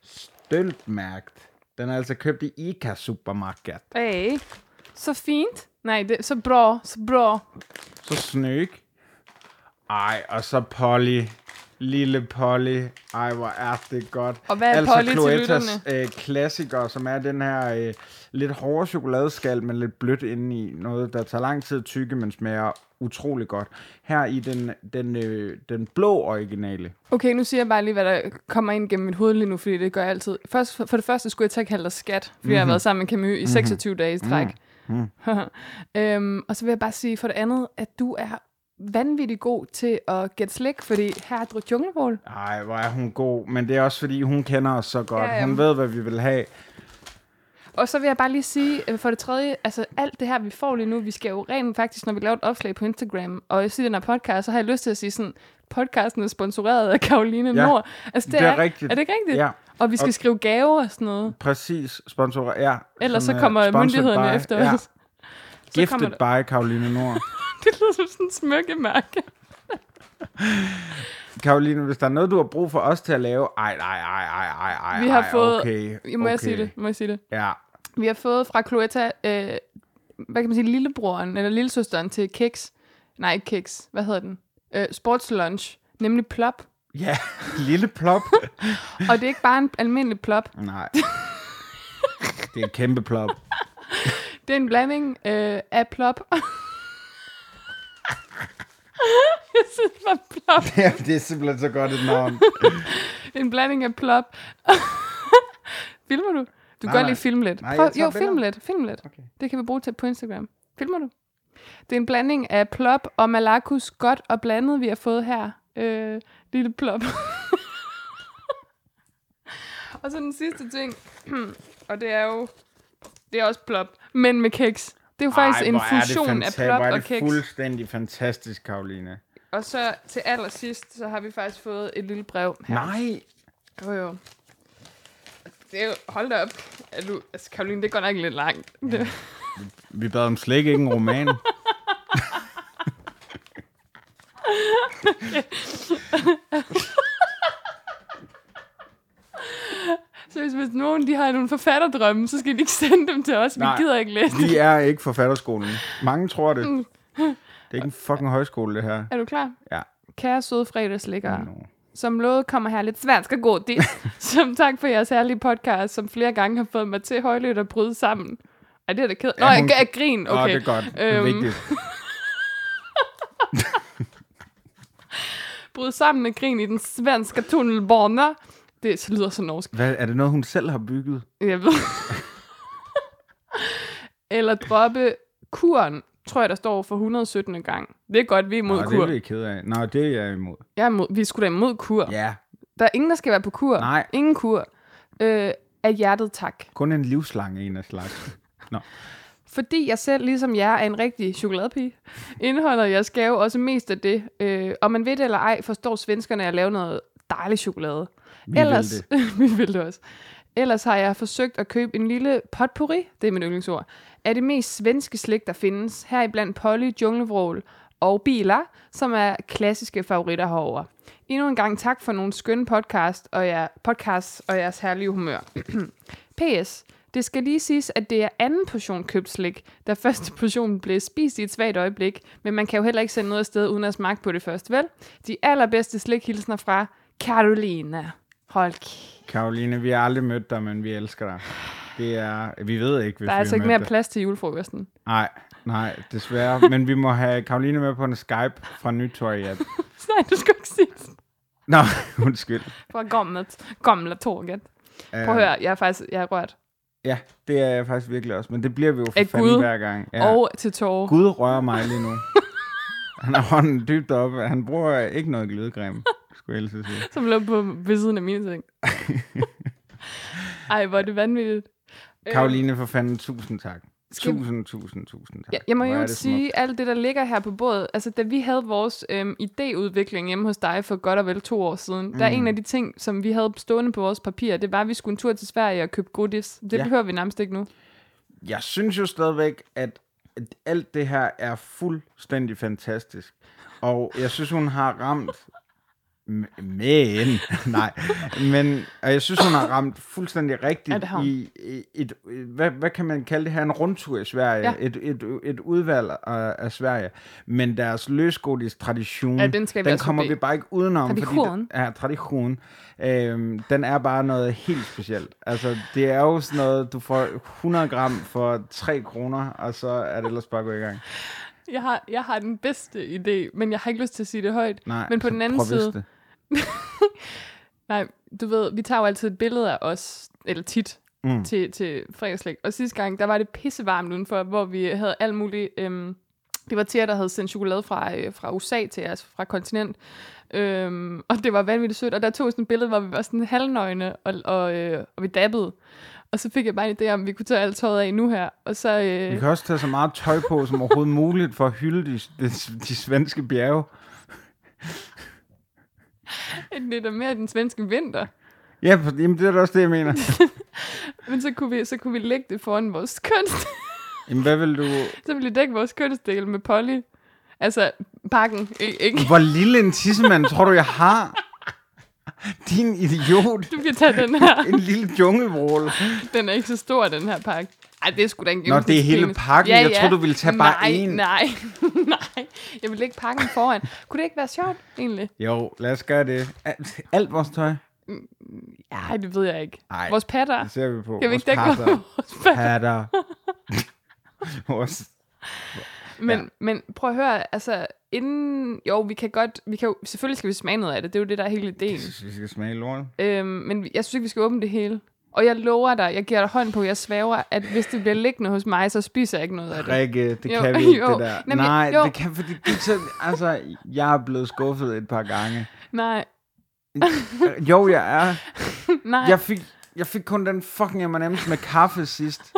[SPEAKER 2] stølpmærkt. Den er altså købt i Ica Supermarket.
[SPEAKER 1] Hey. Så fint. Nej, det er så bra. Så bra.
[SPEAKER 2] Så snøg. Ej, og så Polly. Lille Polly. Ej, hvor er det godt.
[SPEAKER 1] Og hvad er
[SPEAKER 2] altså
[SPEAKER 1] Polly til
[SPEAKER 2] Cloetas øh, klassiker, som er den her øh, lidt hårde chokoladeskal, men lidt blødt indeni. Noget, der tager lang tid at tykke, men smager utrolig godt. Her i den, den, øh, den blå originale.
[SPEAKER 1] Okay, nu siger jeg bare lige, hvad der kommer ind gennem mit hoved lige nu, fordi det gør jeg altid. Først, for det første skulle jeg tage kalde dig skat, fordi mm-hmm. jeg
[SPEAKER 2] Mhm.
[SPEAKER 1] har været sammen med Camus i 26 dage i træk. Mm. øhm, og så vil jeg bare sige for det andet, at du er vanvittig god til at gætte slik, fordi her er drukket junglevål.
[SPEAKER 2] Ej, hvor er hun god. Men det er også, fordi hun kender os så godt.
[SPEAKER 1] Ja, ja.
[SPEAKER 2] Hun ved, hvad vi vil have.
[SPEAKER 1] Og så vil jeg bare lige sige, øh, for det tredje, altså alt det her, vi får lige nu, vi skal jo rent faktisk, når vi laver et opslag på Instagram, og jeg siger den her podcast, så har jeg lyst til at sige sådan, podcasten er sponsoreret af Karoline
[SPEAKER 2] Ja,
[SPEAKER 1] Nord. Altså,
[SPEAKER 2] det er rigtigt.
[SPEAKER 1] Er det ikke rigtigt?
[SPEAKER 2] Ja.
[SPEAKER 1] Og vi skal
[SPEAKER 2] Og-
[SPEAKER 1] skrive gaver og sådan noget.
[SPEAKER 2] Præcis, sponsorer ja.
[SPEAKER 1] Ellers
[SPEAKER 2] som
[SPEAKER 1] så
[SPEAKER 2] er
[SPEAKER 1] kommer
[SPEAKER 2] sponsored
[SPEAKER 1] myndighederne
[SPEAKER 2] by-
[SPEAKER 1] efter
[SPEAKER 2] ja,
[SPEAKER 1] os. Så kommer
[SPEAKER 2] Gifted
[SPEAKER 1] der-
[SPEAKER 2] by Karoline Nord.
[SPEAKER 1] Det lyder som sådan en smykkemærke.
[SPEAKER 2] Karoline, hvis der er noget, du har brug for os til at lave... Ej, nej, ej, ej, ej, ej,
[SPEAKER 1] Vi har
[SPEAKER 2] ej,
[SPEAKER 1] fået...
[SPEAKER 2] Okay,
[SPEAKER 1] Ja, må,
[SPEAKER 2] okay.
[SPEAKER 1] jeg sige det? må jeg sige det?
[SPEAKER 2] Ja,
[SPEAKER 1] Vi har fået fra Cloetta, øh, hvad kan man sige, lillebroren eller lillesøsteren til Kiks. Nej, ikke Kiks. Hvad hedder den? Øh, sportslunch. Nemlig plop.
[SPEAKER 2] ja. lille plop.
[SPEAKER 1] Og det er ikke bare en almindelig plop.
[SPEAKER 2] nej. Det er en kæmpe plop.
[SPEAKER 1] Det er en blanding øh, af plop. jeg synes, det var plop.
[SPEAKER 2] Ja, det er simpelthen så godt et navn.
[SPEAKER 1] En blanding af plop. Filmer du? Du kan
[SPEAKER 2] Nej,
[SPEAKER 1] godt
[SPEAKER 2] nej.
[SPEAKER 1] lige filme lidt.
[SPEAKER 2] Nej, jeg
[SPEAKER 1] Prøv,
[SPEAKER 2] tager
[SPEAKER 1] jo, film
[SPEAKER 2] billeder.
[SPEAKER 1] lidt. Film lidt.
[SPEAKER 2] Okay.
[SPEAKER 1] Det kan vi bruge til på Instagram. Filmer du? Det er en blanding af plop og malakus godt og blandet, vi har fået her. Øh, lille plop. og så den sidste ting, og det er jo Det er også plop, men med keks. Det er jo faktisk en
[SPEAKER 2] hvor er det
[SPEAKER 1] fusion af
[SPEAKER 2] fanta-
[SPEAKER 1] plop
[SPEAKER 2] hvor er
[SPEAKER 1] og
[SPEAKER 2] det
[SPEAKER 1] keks.
[SPEAKER 2] fuldstændig fantastisk, Karoline.
[SPEAKER 1] Og så til allersidst, så har vi faktisk fået et lille brev her.
[SPEAKER 2] Nej,
[SPEAKER 1] Jo, jo. Det er jo, hold da op. Er du, altså, Karoline, det går nok lidt langt. Det,
[SPEAKER 2] vi bad om slik, ikke en roman.
[SPEAKER 1] så hvis, hvis nogen de har nogle forfatterdrømme, så skal de ikke sende dem til os.
[SPEAKER 2] Nej.
[SPEAKER 1] Vi gider ikke læse det.
[SPEAKER 2] Vi er ikke forfatterskolen. Mange tror det. Det er ikke en fucking højskole, det her.
[SPEAKER 1] Er du klar?
[SPEAKER 2] Ja.
[SPEAKER 1] Kære søde fredagslæggere.
[SPEAKER 2] Nå.
[SPEAKER 1] Som lovet kommer her lidt svensk og god dit. som tak for jeres herlige podcast, som flere gange har fået mig til højlydt at bryde sammen. Ej, det er da ked. Nå,
[SPEAKER 2] Ja,
[SPEAKER 1] jeg
[SPEAKER 2] hun-
[SPEAKER 1] jeg grin. Okay.
[SPEAKER 2] Åh, det er godt. Det er
[SPEAKER 1] Øhm,
[SPEAKER 2] vigtigt.
[SPEAKER 1] Bryde sammen med grin i den svenske tunnelbane. Det så lyder så norsk.
[SPEAKER 2] Hvad, er det noget, hun selv har bygget?
[SPEAKER 1] Jeg ved. Eller droppe kuren, tror jeg, der står for 117. gang. Det er godt, vi er imod
[SPEAKER 2] Nå, det
[SPEAKER 1] kur.
[SPEAKER 2] er vi ked af. Nej, det er jeg imod.
[SPEAKER 1] Jeg er imod, vi er sgu da imod kur.
[SPEAKER 2] Ja,
[SPEAKER 1] Der er ingen, der skal være på kur.
[SPEAKER 2] Nej.
[SPEAKER 1] Ingen kur. Øh, af hjertet tak.
[SPEAKER 2] kun en livslang en af slags. Nå.
[SPEAKER 1] Fordi jeg selv, ligesom jer, er en rigtig chokoladepige, indeholder jeres gave også mest af det. Øh, og man ved det eller ej, forstår svenskerne at lave noget dejlig chokolade.
[SPEAKER 2] Vi vil det.
[SPEAKER 1] vi vil det også. Ellers har jeg forsøgt at købe en lille potpourri, det er mit yndlingsord, af det mest svenske slik, der findes, heriblandt Polly, Junglevrål og Biler, som er klassiske favoritter herover. Endnu en gang tak for nogle skønne podcast og, jer, podcasts og jeres herlige humør. P.S. Det skal lige siges, at det er anden portion købt slik, da første portion blev spist i et svagt øjeblik, men man kan jo heller ikke sende noget afsted uden at smage på det først, vel? De allerbedste slikhilsner fra Carolina. Hold kæ-
[SPEAKER 2] Karoline, vi har aldrig mødt dig, men vi elsker dig. Det er, vi ved ikke, hvis
[SPEAKER 1] Der er
[SPEAKER 2] vi
[SPEAKER 1] altså ikke
[SPEAKER 2] mødte
[SPEAKER 1] mere
[SPEAKER 2] dig.
[SPEAKER 1] plads til julefrokosten.
[SPEAKER 2] Nej, nej, desværre. Men vi må have Karoline med på en Skype fra Nytorg. Ja.
[SPEAKER 1] Nej, du skal ikke sige det.
[SPEAKER 2] Nå, undskyld.
[SPEAKER 1] Fra gamlet, gamle torget. Prøv at
[SPEAKER 2] Øh,
[SPEAKER 1] høre, jeg er faktisk jeg er rørt.
[SPEAKER 2] Ja, det er jeg faktisk virkelig også. Men det bliver vi jo for
[SPEAKER 1] Af
[SPEAKER 2] fanden
[SPEAKER 1] Gud.
[SPEAKER 2] hver gang.
[SPEAKER 1] Ja. Og til tårer.
[SPEAKER 2] Gud rører mig lige nu. Han har hånden dybt oppe. Han bruger ikke noget glødecreme, skulle jeg ellers sige.
[SPEAKER 1] som lå på ved siden af mine ting. Ej, hvor er det vanvittigt. Øh,
[SPEAKER 2] Karoline, for fanden, tusind tak.
[SPEAKER 1] Skal-
[SPEAKER 2] Tusind, tusind, tusind tak.
[SPEAKER 1] Ja, jeg må
[SPEAKER 2] Hvor er
[SPEAKER 1] jo
[SPEAKER 2] det smukt.
[SPEAKER 1] sige, alt det, der ligger her på bordet, altså da vi havde vores øhm, idéudvikling hjemme hos dig for godt og vel to år siden, mm. der er en af de ting, som vi havde stående på vores papir, det var, at vi skulle en tur til Sverige og købe godis. Det
[SPEAKER 2] Ja.
[SPEAKER 1] ja. behøver vi nærmest ikke nu.
[SPEAKER 2] Jeg synes jo stadigvæk, at at alt det her er fuldstændig fantastisk. Og jeg synes, hun har ramt... M- Men, nej, men og jeg synes, hun har ramt fuldstændig rigtigt
[SPEAKER 1] Ja, det har hun.
[SPEAKER 2] i, i et, hvad, hvad kan man kalde det her, en rundtur i Sverige,
[SPEAKER 1] Ja.
[SPEAKER 2] et, et, et udvalg af, af Sverige, men deres løsgodis tradition,
[SPEAKER 1] Ja, den skal vi altså
[SPEAKER 2] den
[SPEAKER 1] også
[SPEAKER 2] kommer
[SPEAKER 1] forbi.
[SPEAKER 2] vi bare ikke udenom, fordi
[SPEAKER 1] Tradition.
[SPEAKER 2] den, ja, tradition, øhm, den er bare noget helt specielt. Altså, det er jo sådan noget, du får 100 gram for 3 kroner, og så er det ellers bare gået i gang.
[SPEAKER 1] Jeg har, jeg har den bedste idé, men jeg har ikke lyst til at sige det højt.
[SPEAKER 2] Nej,
[SPEAKER 1] men på
[SPEAKER 2] så
[SPEAKER 1] den anden
[SPEAKER 2] prøv at vise
[SPEAKER 1] side,
[SPEAKER 2] det.
[SPEAKER 1] Nej, du ved, vi tager jo altid et billede af os, eller tit, mm. til, til fredagslæg. Og sidste gang, der var det pissevarmt udenfor, hvor vi havde alt muligt... Øhm, det var Thea, der havde sendt chokolade fra, øh, fra USA til os, fra kontinent. Øhm, og det var vanvittigt sødt. Og der tog jeg sådan et billede, hvor vi var sådan halvnøgne, og, og, øh, og vi dabbede. Og så fik jeg bare en idé om, at vi kunne tage alt tøjet af nu her. Og så...
[SPEAKER 2] Vi
[SPEAKER 1] Øh,
[SPEAKER 2] kan også tage så meget tøj på som overhovedet muligt for at hylde de, de, de svenske bjerge.
[SPEAKER 1] det er da mere den svenske vinter.
[SPEAKER 2] Ja, for- jamen, det er da også det, jeg mener.
[SPEAKER 1] Men så kunne vi, så kunne vi lægge det foran vores kunst.
[SPEAKER 2] Jamen, hvad vil du...
[SPEAKER 1] Så ville de dække vores kønsdel med Polly. Altså, pakken, i- ikke?
[SPEAKER 2] Hvor lille en tissemand tror du, jeg har? Din idiot.
[SPEAKER 1] Du kan tage den her.
[SPEAKER 2] En lille junglevrål.
[SPEAKER 1] Den er ikke så stor, den her pakke. Ej, det er sgu da en
[SPEAKER 2] Nå, det er hele
[SPEAKER 1] gennemsnitspenis.
[SPEAKER 2] pakken. Jeg troede, du ville tage bare
[SPEAKER 1] nej,
[SPEAKER 2] én.
[SPEAKER 1] Nej, nej. Jeg vil lægge pakken foran. Kunne det ikke være sjovt, egentlig?
[SPEAKER 2] Jo, lad os gøre det. Alt, alt vores tøj,
[SPEAKER 1] Nej, det ved jeg ikke.
[SPEAKER 2] Ej,
[SPEAKER 1] Vores patter.
[SPEAKER 2] det ser vi på.
[SPEAKER 1] Jeg vil
[SPEAKER 2] Vores
[SPEAKER 1] ikke dække
[SPEAKER 2] patter.
[SPEAKER 1] vores patter.
[SPEAKER 2] patter. Vores...
[SPEAKER 1] Men,
[SPEAKER 2] Ja.
[SPEAKER 1] ja. men prøv at høre, altså, inden... Jo, vi kan godt... Vi kan jo, selvfølgelig skal vi smage noget af det. Det er jo det, der er hele
[SPEAKER 2] Jeg
[SPEAKER 1] ideen.
[SPEAKER 2] synes, vi skal smage lorten.
[SPEAKER 1] Øhm, men vi- jeg synes ikke, vi skal åbne det hele. Og jeg lover dig, jeg giver dig hånd på, jeg svæver, at hvis det bliver liggende hos mig, så spiser jeg ikke noget af det.
[SPEAKER 2] Rikke, det
[SPEAKER 1] Jo,
[SPEAKER 2] kan vi ikke,
[SPEAKER 1] jo.
[SPEAKER 2] det der.
[SPEAKER 1] Jamen,
[SPEAKER 2] Nej,
[SPEAKER 1] jo.
[SPEAKER 2] det kan, fordi det er så, altså, jeg er blevet skuffet et par gange. Øh,
[SPEAKER 1] Nej,
[SPEAKER 2] Jo, jeg er.
[SPEAKER 1] nej.
[SPEAKER 2] Jeg fik, jeg fik kun den fucking M&M's med kaffe sidst.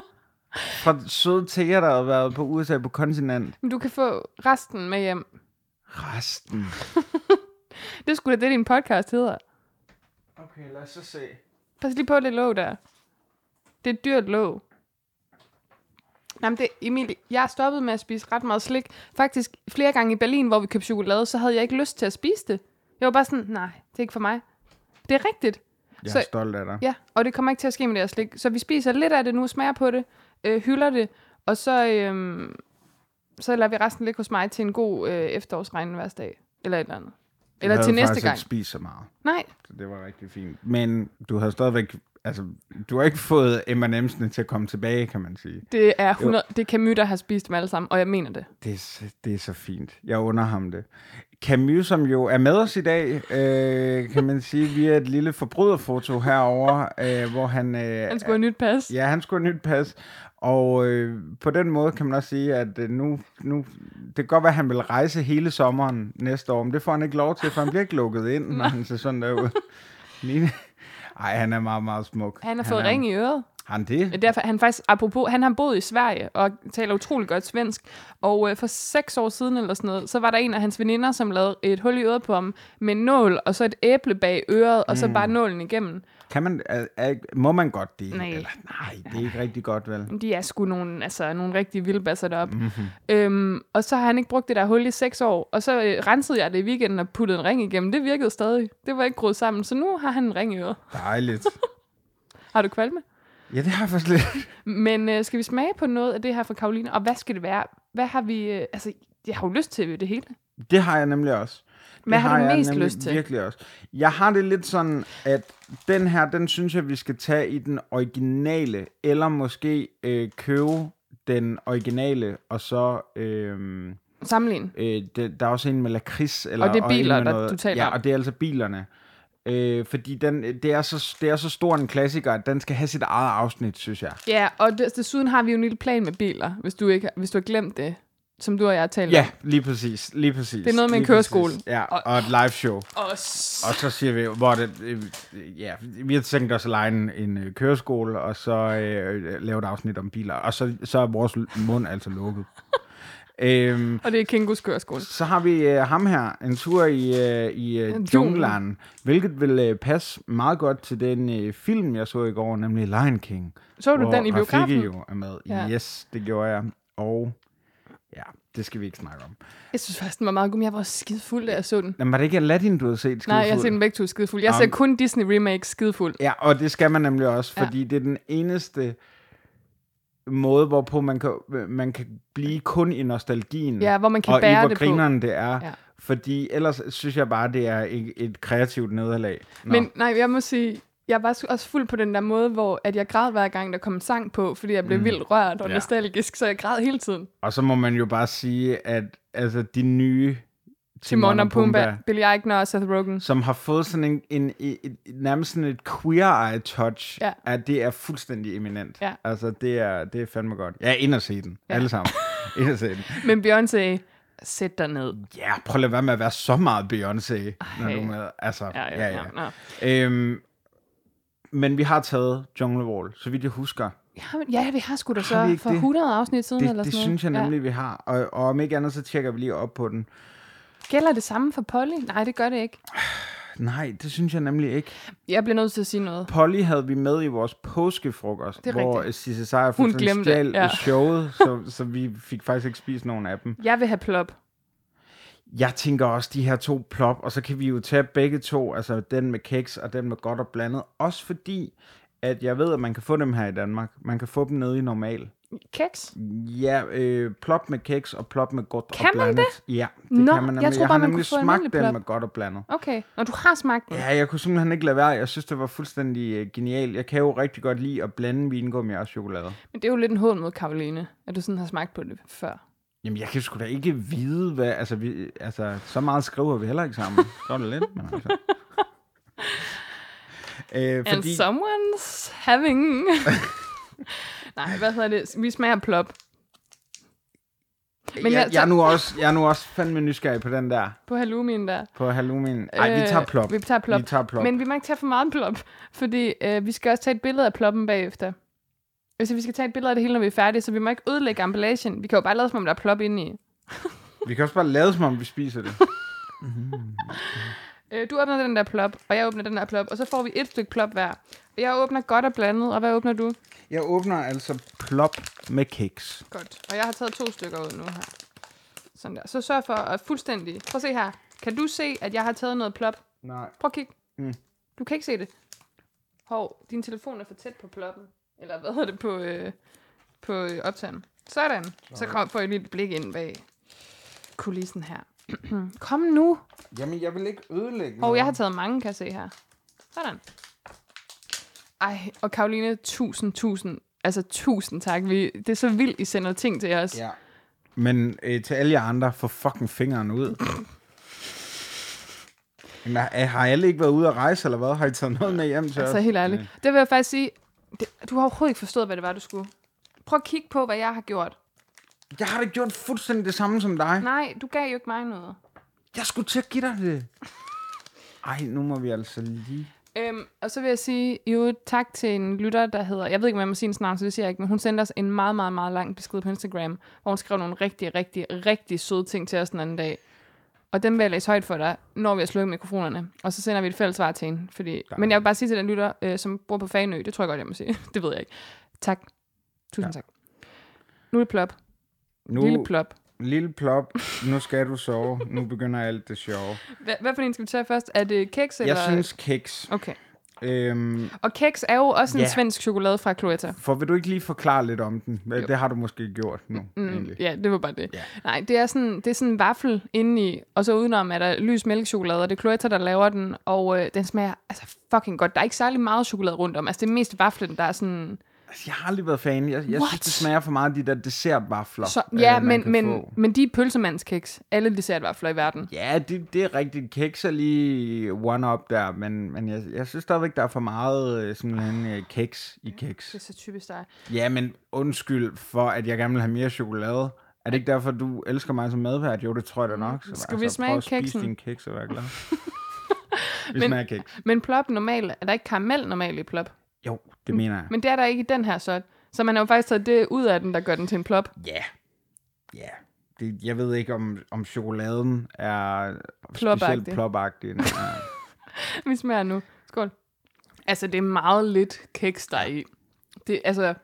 [SPEAKER 2] Fra søde teer, der har været på USA på kontinent.
[SPEAKER 1] Men du kan få resten med hjem.
[SPEAKER 2] Resten.
[SPEAKER 1] Det skulle sgu da det, din podcast hedder.
[SPEAKER 2] Okay, lad os så se.
[SPEAKER 1] Pas lige på det låg der. Det er et dyrt låg. Jamen det, Emil, jeg har stoppet med at spise ret meget slik. Faktisk flere gange i Berlin, hvor vi købte chokolade, så havde jeg ikke lyst til at spise det. Jeg var bare sådan, nej, det er ikke for mig. Det er rigtigt.
[SPEAKER 2] Jeg er
[SPEAKER 1] Så-
[SPEAKER 2] så... stolt af dig.
[SPEAKER 1] Ja, og det kommer ikke til at ske med det her slik. Så vi spiser lidt af det nu, smager på det, øh, hylder det, og så, øh, så lader vi resten ligge hos mig til en god øh, efterårsregn hver dag. Eller et eller andet. Eller
[SPEAKER 2] jeg
[SPEAKER 1] til
[SPEAKER 2] havde
[SPEAKER 1] næste
[SPEAKER 2] faktisk
[SPEAKER 1] gang.
[SPEAKER 2] ikke spist så meget.
[SPEAKER 1] Nej,
[SPEAKER 2] Så det var rigtig fint. Men du har stadigvæk... Altså, du har ikke fået M&M's'ene til at komme tilbage, kan man sige.
[SPEAKER 1] det er 100, det kan myter have spist dem alle sammen, og jeg mener det.
[SPEAKER 2] Det er, så- det er så fint. Jeg under ham det. Camus, som jo er med os i dag, øh, kan man sige, via et lille forbryderfoto herover, øh, hvor han... Øh,
[SPEAKER 1] Han skulle have nyt pas.
[SPEAKER 2] Ja, han skulle have nyt pas. Og øh, på den måde kan man også sige, at øh, nu, nu, det kan godt være, at han vil rejse hele sommeren næste år, men det får han ikke lov til, for han bliver ikke lukket ind, når han ser sådan der ud. Line. Ej, han er meget, meget smuk.
[SPEAKER 1] Han har fået ring i øret.
[SPEAKER 2] Har han det?
[SPEAKER 1] Ja, Derfor, han faktisk, apropos, han har boet i Sverige og taler utrolig godt svensk. Og øh, for seks år siden eller sådan noget, så var der en af hans veninder, som lavede et hul i øret på ham med en nål, og så et æble bag øret, og så
[SPEAKER 2] Mm.
[SPEAKER 1] bare nålen igennem.
[SPEAKER 2] Kan man, er, er, må man godt det?
[SPEAKER 1] Nej.
[SPEAKER 2] Eller, nej, det er ikke rigtig godt, vel?
[SPEAKER 1] De er sgu nogle, altså, nogle rigtige vildbasser deroppe.
[SPEAKER 2] Mhm.
[SPEAKER 1] Mm-hmm. Øhm, og så har han ikke brugt det der hul i seks år, og så øh, rensede jeg det i weekenden og puttede en ring igennem. Det virkede stadig. Det var ikke groet sammen, så nu har han en ring i øret.
[SPEAKER 2] Dejligt.
[SPEAKER 1] Har du kvalme?
[SPEAKER 2] Ja, det har jeg faktisk lidt.
[SPEAKER 1] Men øh, skal vi smage på noget af det her fra Karoline? Og hvad skal det være? Hvad har vi... Øh, altså, jeg har jo lyst til det hele.
[SPEAKER 2] Det har jeg nemlig også. Det
[SPEAKER 1] Hvad har du
[SPEAKER 2] jeg
[SPEAKER 1] mest
[SPEAKER 2] nemlig
[SPEAKER 1] lyst til?
[SPEAKER 2] Virkelig også. Jeg har det lidt sådan, at den her, den synes jeg, vi skal tage i den originale, eller måske øh, købe den originale, og så... Øh,
[SPEAKER 1] Sammenlign.
[SPEAKER 2] øh, det, der er også en med lakrids. Eller,
[SPEAKER 1] Og det er
[SPEAKER 2] en
[SPEAKER 1] biler,
[SPEAKER 2] med
[SPEAKER 1] der- du taler
[SPEAKER 2] ja,
[SPEAKER 1] om.
[SPEAKER 2] og det er altså bilerne. Øh, fordi den, det, er så, det er så stor en klassiker, at den skal have sit eget afsnit, synes jeg.
[SPEAKER 1] Ja, og des- desuden har vi jo en lille plan med biler, hvis du, ikke, hvis du har glemt det, som du og jeg har talt
[SPEAKER 2] Ja, lige præcis. Lige præcis.
[SPEAKER 1] Det er noget med en
[SPEAKER 2] lige
[SPEAKER 1] køreskole.
[SPEAKER 2] præcis. Ja,
[SPEAKER 1] Og-
[SPEAKER 2] og, et live show.
[SPEAKER 1] om. Og s-
[SPEAKER 2] Og så siger vi, hvor det, øh, ja, vi har tænkt os at lege en, en øh, køreskole, og så øh, lave et afsnit om biler, og så, så er vores l- mund altså lukket. øhm,
[SPEAKER 1] og det er Kingus køreskole.
[SPEAKER 2] så har vi øh, ham her, en tur i, øh, i øh, junglen, hvilket vil øh, passe meget godt til den øh, film, jeg så i går, nemlig Lion King.
[SPEAKER 1] Så du
[SPEAKER 2] hvor
[SPEAKER 1] den i
[SPEAKER 2] Rafiki
[SPEAKER 1] biografen?
[SPEAKER 2] jo er med.
[SPEAKER 1] Ja.
[SPEAKER 2] Ja. Yes, det gjorde jeg. Og ja, det skal vi ikke snakke om.
[SPEAKER 1] Jeg synes faktisk, den var meget god, men jeg var skide fuld, da jeg så den.
[SPEAKER 2] Men var det ikke Aladdin, du havde set?
[SPEAKER 1] Nej, jeg har
[SPEAKER 2] Skidefuld?
[SPEAKER 1] set den begge to skide fuld. Jeg ser
[SPEAKER 2] Jamen.
[SPEAKER 1] kun Disney Remake skide fuld.
[SPEAKER 2] Ja, og det skal man nemlig også,
[SPEAKER 1] Ja.
[SPEAKER 2] fordi det er den eneste måde, hvorpå man kan, man kan blive kun i nostalgien.
[SPEAKER 1] Ja, hvor man kan
[SPEAKER 2] og
[SPEAKER 1] bære
[SPEAKER 2] i, hvor
[SPEAKER 1] det på.
[SPEAKER 2] grineren det er.
[SPEAKER 1] Ja.
[SPEAKER 2] Ja. Fordi ellers synes jeg bare, det er et, et kreativt nederlag. Nå.
[SPEAKER 1] Men nej, jeg må sige, jeg var sgu også fuld på den der måde, hvor at jeg græd hver gang, der kom en sang på, fordi jeg blev mm. vildt rørt og
[SPEAKER 2] Ja.
[SPEAKER 1] nostalgisk, så jeg græd hele tiden.
[SPEAKER 2] Og så må man jo bare sige, at altså, de nye
[SPEAKER 1] Timon, og Pumba, Billy Eichner og Seth Rogen.
[SPEAKER 2] som har fået sådan en, en, en, en nærmest sådan et queer-eye-touch,
[SPEAKER 1] Ja.
[SPEAKER 2] at det er fuldstændig eminent.
[SPEAKER 1] Ja.
[SPEAKER 2] Altså, det er, det er fandme godt. Ja, ind og se den. Ja. Alle sammen. ind og se den.
[SPEAKER 1] Men Beyoncé, sæt dig ned.
[SPEAKER 2] Ja, prøv at lade være med at være så meget Beyoncé, når du er med. Altså,
[SPEAKER 1] Ja, ja, ja. ja. ja.
[SPEAKER 2] Øhm, men vi har taget Jungle Wall, så vidt jeg husker.
[SPEAKER 1] Ja, men- ja, vi har sgu da
[SPEAKER 2] Har vi
[SPEAKER 1] så
[SPEAKER 2] ikke
[SPEAKER 1] for
[SPEAKER 2] det?
[SPEAKER 1] 100 afsnit siden
[SPEAKER 2] Det,
[SPEAKER 1] eller sådan
[SPEAKER 2] det synes jeg
[SPEAKER 1] noget.
[SPEAKER 2] nemlig, vi har. Og, og om ikke andet, så tjekker vi lige op på den.
[SPEAKER 1] Ja. Gælder det samme for Polly? Nej, det gør det ikke.
[SPEAKER 2] Nej, det synes jeg nemlig ikke.
[SPEAKER 1] Jeg bliver nødt til at sige noget.
[SPEAKER 2] Polly havde vi med i vores påskefrokost,
[SPEAKER 1] Det er
[SPEAKER 2] hvor
[SPEAKER 1] rigtigt.
[SPEAKER 2] Sisse Sejer fuldstændig
[SPEAKER 1] glemte,
[SPEAKER 2] stjal
[SPEAKER 1] ja.
[SPEAKER 2] ja. showet, så, så vi fik faktisk ikke spist nogen af dem.
[SPEAKER 1] Jeg vil have plop.
[SPEAKER 2] Jeg tænker også de her to plop, og så kan vi jo tage begge to, altså den med keks og den med godt og blandet, også fordi, at jeg ved, at man kan få dem her i Danmark. Man kan få dem nede i normal.
[SPEAKER 1] Keks?
[SPEAKER 2] Ja, øh, plop med keks og plop med godt
[SPEAKER 1] Kan
[SPEAKER 2] og
[SPEAKER 1] man
[SPEAKER 2] blandet. det? Ja, det
[SPEAKER 1] Nå,
[SPEAKER 2] kan man
[SPEAKER 1] jeg
[SPEAKER 2] nemlig.
[SPEAKER 1] troede
[SPEAKER 2] jeg
[SPEAKER 1] bare,
[SPEAKER 2] har
[SPEAKER 1] man kunne
[SPEAKER 2] nemlig
[SPEAKER 1] få en
[SPEAKER 2] smagt
[SPEAKER 1] almindelig
[SPEAKER 2] den
[SPEAKER 1] plop.
[SPEAKER 2] med godt og blandet.
[SPEAKER 1] Okay. Når du har smagt den. Ja.
[SPEAKER 2] Ja, jeg kunne simpelthen ikke lade være. Jeg synes, det var fuldstændig øh, genial. Jeg kan jo rigtig godt lide at blande vingummi og chokolade.
[SPEAKER 1] Men det er jo lidt en hån mod Karoline, at du sådan har smagt på det før.
[SPEAKER 2] Jamen, jeg kan sgu da ikke vide, hvad... Altså, vi, altså så meget skriver vi heller ikke sammen. Så er det lidt, men altså... Øh,
[SPEAKER 1] Fordi... And
[SPEAKER 2] fordi,
[SPEAKER 1] someone's having... Nej, hvad hedder det? Vi smager plop
[SPEAKER 2] men
[SPEAKER 1] men altså-
[SPEAKER 2] jeg,
[SPEAKER 1] jeg-
[SPEAKER 2] jeg, er nu også, jeg er nu også fandme nysgerrig på den der,
[SPEAKER 1] på halloumien der.
[SPEAKER 2] på halloumien. Ej, vi
[SPEAKER 1] Øh,
[SPEAKER 2] tager plop.
[SPEAKER 1] Vi tager plop.
[SPEAKER 2] Vi tager plop.
[SPEAKER 1] Men vi må ikke tage for meget plop, fordi øh, vi skal også tage et billede af ploppen bagefter. Hvis vi skal tage et billede af det hele, når vi er færdige, så vi må ikke ødelægge emballagen. Vi kan jo bare lade, som om der er plop inde i.
[SPEAKER 2] Vi kan også bare lade som om, vi spiser det.
[SPEAKER 1] Øh, du åbner den der plop, og jeg åbner den der plop, og så får vi et stykke plop hver. Og jeg åbner godt og blandet, og hvad åbner du?
[SPEAKER 2] Jeg åbner altså plop med kiks.
[SPEAKER 1] Godt. Og jeg har taget to stykker ud nu her. Sådan der. Så sørg for at fuldstændig... Prøv at se her. Kan du se, at jeg har taget noget plop?
[SPEAKER 2] Nej.
[SPEAKER 1] Prøv at kigge.
[SPEAKER 2] Mm.
[SPEAKER 1] Du kan ikke se det. Hov, din telefon er for tæt på ploppen. Eller hvad hedder det på, øh, på øh, optageren. Sådan. Så kom, får jeg lige et blik ind bag kulissen her. kom nu.
[SPEAKER 2] Jamen, jeg vil ikke ødelægge
[SPEAKER 1] Og jeg har taget mange, kan jeg se her. Sådan. Ej, og Karoline, tusind, tusind, altså tusind tak. Vi, det er så vildt, I sender ting til os.
[SPEAKER 2] Ja. Men øh, til alle jer andre, få fucking fingeren ud. Jamen, har- har alle ikke været ude at rejse, eller hvad? Har I taget noget med hjem til
[SPEAKER 1] Altså
[SPEAKER 2] os? Øh.
[SPEAKER 1] helt ærligt. Det vil jeg faktisk sige, det, du har overhovedet ikke forstået, hvad det var, du skulle. Prøv at kigge på, hvad jeg har gjort.
[SPEAKER 2] Jeg har da gjort fuldstændig det samme som dig.
[SPEAKER 1] Nej, du gav jo ikke mig noget.
[SPEAKER 2] Jeg skulle til at give dig det. Ej, nu må vi altså lige...
[SPEAKER 1] Øhm, og så vil jeg sige jo tak til en lytter, der hedder, jeg ved ikke, om jeg må sige hendes navn, så det siger jeg ikke, men hun sendte os en meget, meget, meget lang besked på Instagram, hvor hun skrev nogle rigtig, rigtig, rigtig søde ting til os den anden dag. Og dem vil jeg læse højt for dig, når vi har slukket mikrofonerne. Og så sender vi et fælles svar til hende. Fordi... Men jeg vil bare sige til den lytter, øh, som bor på Fagenø, det tror jeg godt, jeg må sige. det ved jeg ikke. Tak. Tusind ja. tak. Nu er det plop.
[SPEAKER 2] Nu,
[SPEAKER 1] Lille plop.
[SPEAKER 2] lille plop. Nu skal du sove. Nu begynder alt det sjove.
[SPEAKER 1] Hvad, hvad for en skal vi tage først? Er det keks eller?
[SPEAKER 2] Jeg synes kiks.
[SPEAKER 1] Okay.
[SPEAKER 2] Øhm,
[SPEAKER 1] Og keks er jo også en
[SPEAKER 2] Ja.
[SPEAKER 1] svensk chokolade fra Cloetta.
[SPEAKER 2] for vil du ikke lige forklare lidt om den?
[SPEAKER 1] Jo.
[SPEAKER 2] Det har du måske gjort nu, mm, egentlig.
[SPEAKER 1] Ja, det var bare det.
[SPEAKER 2] Ja.
[SPEAKER 1] Nej, det er sådan, det er sådan en vaffel indeni, og så udenom er der lys mælkechokolade, og det er Cloetta, der laver den, og øh, den smager altså fucking godt. Der er ikke særlig meget chokolade rundt om. Altså, det er mest vaflen, der er sådan...
[SPEAKER 2] Altså, jeg har aldrig været fan. Jeg, jeg synes,
[SPEAKER 1] What?
[SPEAKER 2] det smager for meget af de der dessertvafler,
[SPEAKER 1] Så, ja,
[SPEAKER 2] øh, man
[SPEAKER 1] men,
[SPEAKER 2] kan
[SPEAKER 1] men,
[SPEAKER 2] få.
[SPEAKER 1] men de er pølsemandskiks. Alle dessertvafler i verden.
[SPEAKER 2] Ja, det, det er rigtigt. Kiks er lige one-up der, men, men jeg, jeg synes stadigvæk, der er for meget øh, sådan en øh, kiks i kiks.
[SPEAKER 1] Det er så typisk dig.
[SPEAKER 2] Ja, men undskyld for, at jeg gerne vil have mere chokolade. Er det ikke derfor, du elsker mig som madvært? Jo, det tror jeg da nok. Så, altså,
[SPEAKER 1] Skal vi smage
[SPEAKER 2] prøv at spise
[SPEAKER 1] kiksen?
[SPEAKER 2] din kiks og være glad. vi
[SPEAKER 1] Men-
[SPEAKER 2] smager kiks.
[SPEAKER 1] Men plop normalt, er der ikke karamel normalt i plop?
[SPEAKER 2] Jo, det mener jeg.
[SPEAKER 1] Men det er der ikke i den her så. Så man har jo faktisk taget det ud af den, der gør den til en plop.
[SPEAKER 2] Ja. Ja. Det, jeg ved ikke, om, om chokoladen er specielt
[SPEAKER 1] Plopagtig.
[SPEAKER 2] plopagtig. Nej.
[SPEAKER 1] Vi smager nu. Skål. Altså, det er meget lidt kiks, der er i. Det, altså,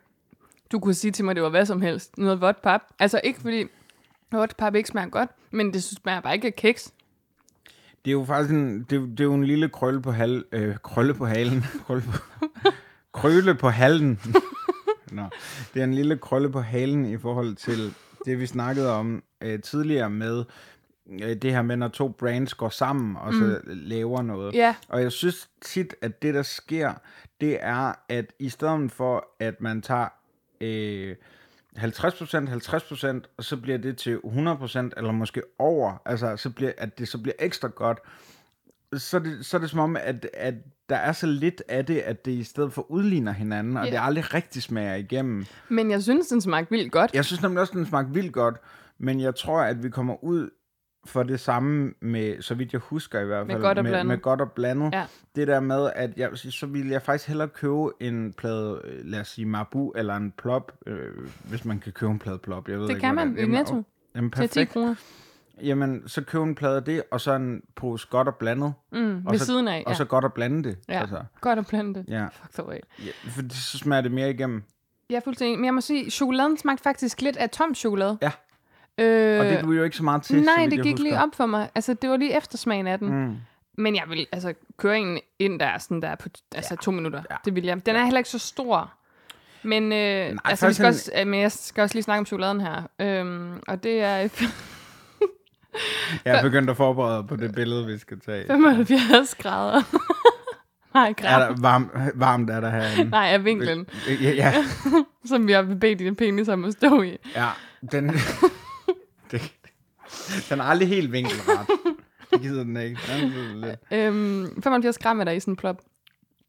[SPEAKER 1] du kunne sige til mig, det var hvad som helst. Noget vådt pap. Altså, ikke fordi vådt pap ikke smager godt, men det smager bare ikke af kiks.
[SPEAKER 2] Det er jo faktisk en, det, er jo- det er jo en lille krølle på, hal, øh, krølle på halen. Krølle på, krølle på halen. Nå, det er en lille krølle på halen i forhold til det, vi snakkede om øh, tidligere med øh, det her med, når to brands går sammen og så laver noget.
[SPEAKER 1] Ja.
[SPEAKER 2] Og jeg synes tit, at det, der sker, det er, at i stedet for, at man tager øh, 50%, 50%, og så bliver det til 100%, eller måske over, altså så bliver, at det så bliver ekstra godt, så er det, så er det som om, at, at der er så lidt af det, at det i stedet for udligner hinanden, og
[SPEAKER 1] Ja.
[SPEAKER 2] det aldrig rigtig smager igennem.
[SPEAKER 1] Men jeg synes, den smagte vildt godt.
[SPEAKER 2] Jeg synes nemlig også, den smagte vildt godt, men jeg tror, at vi kommer ud for det samme med, så vidt jeg husker i hvert
[SPEAKER 1] Med
[SPEAKER 2] fald,
[SPEAKER 1] godt og
[SPEAKER 2] med,
[SPEAKER 1] blandet.
[SPEAKER 2] med godt og blandet.
[SPEAKER 1] Ja.
[SPEAKER 2] Det der med, at jeg, så ville jeg faktisk hellere købe en plade, øh, lad os sige Mabu, eller en plop, øh, hvis man kan købe en plade plop. Jeg ved
[SPEAKER 1] Det
[SPEAKER 2] ikke,
[SPEAKER 1] kan man
[SPEAKER 2] hvordan-
[SPEAKER 1] i
[SPEAKER 2] Jamen,
[SPEAKER 1] Netto.
[SPEAKER 2] åh, Jamen,
[SPEAKER 1] Til 10
[SPEAKER 2] perfekt.
[SPEAKER 1] kroner
[SPEAKER 2] Jamen, så køb en plade af det, og så en pose godt og blandet.
[SPEAKER 1] mm,
[SPEAKER 2] og
[SPEAKER 1] ved
[SPEAKER 2] så,
[SPEAKER 1] siden af. Ja.
[SPEAKER 2] Og så godt og blande det.
[SPEAKER 1] ja.
[SPEAKER 2] Altså,
[SPEAKER 1] Godt at blande det.
[SPEAKER 2] ja.
[SPEAKER 1] Fuck dig af.
[SPEAKER 2] ja. For det- så smager det mere igennem.
[SPEAKER 1] Jeg er fuldstændig enig. Men jeg må sige, chokoladen smagte faktisk lidt af tom chokolade.
[SPEAKER 2] Ja.
[SPEAKER 1] Øh,
[SPEAKER 2] Og det er du jo ikke så meget til, så
[SPEAKER 1] Nej,
[SPEAKER 2] vidt
[SPEAKER 1] det
[SPEAKER 2] jeg
[SPEAKER 1] gik
[SPEAKER 2] husker.
[SPEAKER 1] lige op for mig. Altså, det var lige eftersmagen af den.
[SPEAKER 2] Mm.
[SPEAKER 1] Men jeg vil altså køre en ind der, er sådan der på altså, ja. to minutter. Ja. Det vil jeg. Den er heller ikke så stor. Men, øh, Nej, altså, vi
[SPEAKER 2] faktisk
[SPEAKER 1] skal
[SPEAKER 2] en-
[SPEAKER 1] også, øh, men jeg skal også lige snakke om chokoladen her. Øhm, og det er
[SPEAKER 2] Jeg er begyndt at forberede på det billede, vi skal tage.
[SPEAKER 1] 75 grader. Nej,
[SPEAKER 2] Er
[SPEAKER 1] grader.
[SPEAKER 2] der varm, varmt er der herinde.
[SPEAKER 1] Nej, af vinklen,
[SPEAKER 2] Ja, ja,
[SPEAKER 1] som vi har bedt dine penis om at stå i.
[SPEAKER 2] ja. Den, det, den er aldrig helt vinkelret. Det gider den ikke. Den er sådan lidt-
[SPEAKER 1] Øhm, 75 gram er der i sådan en plop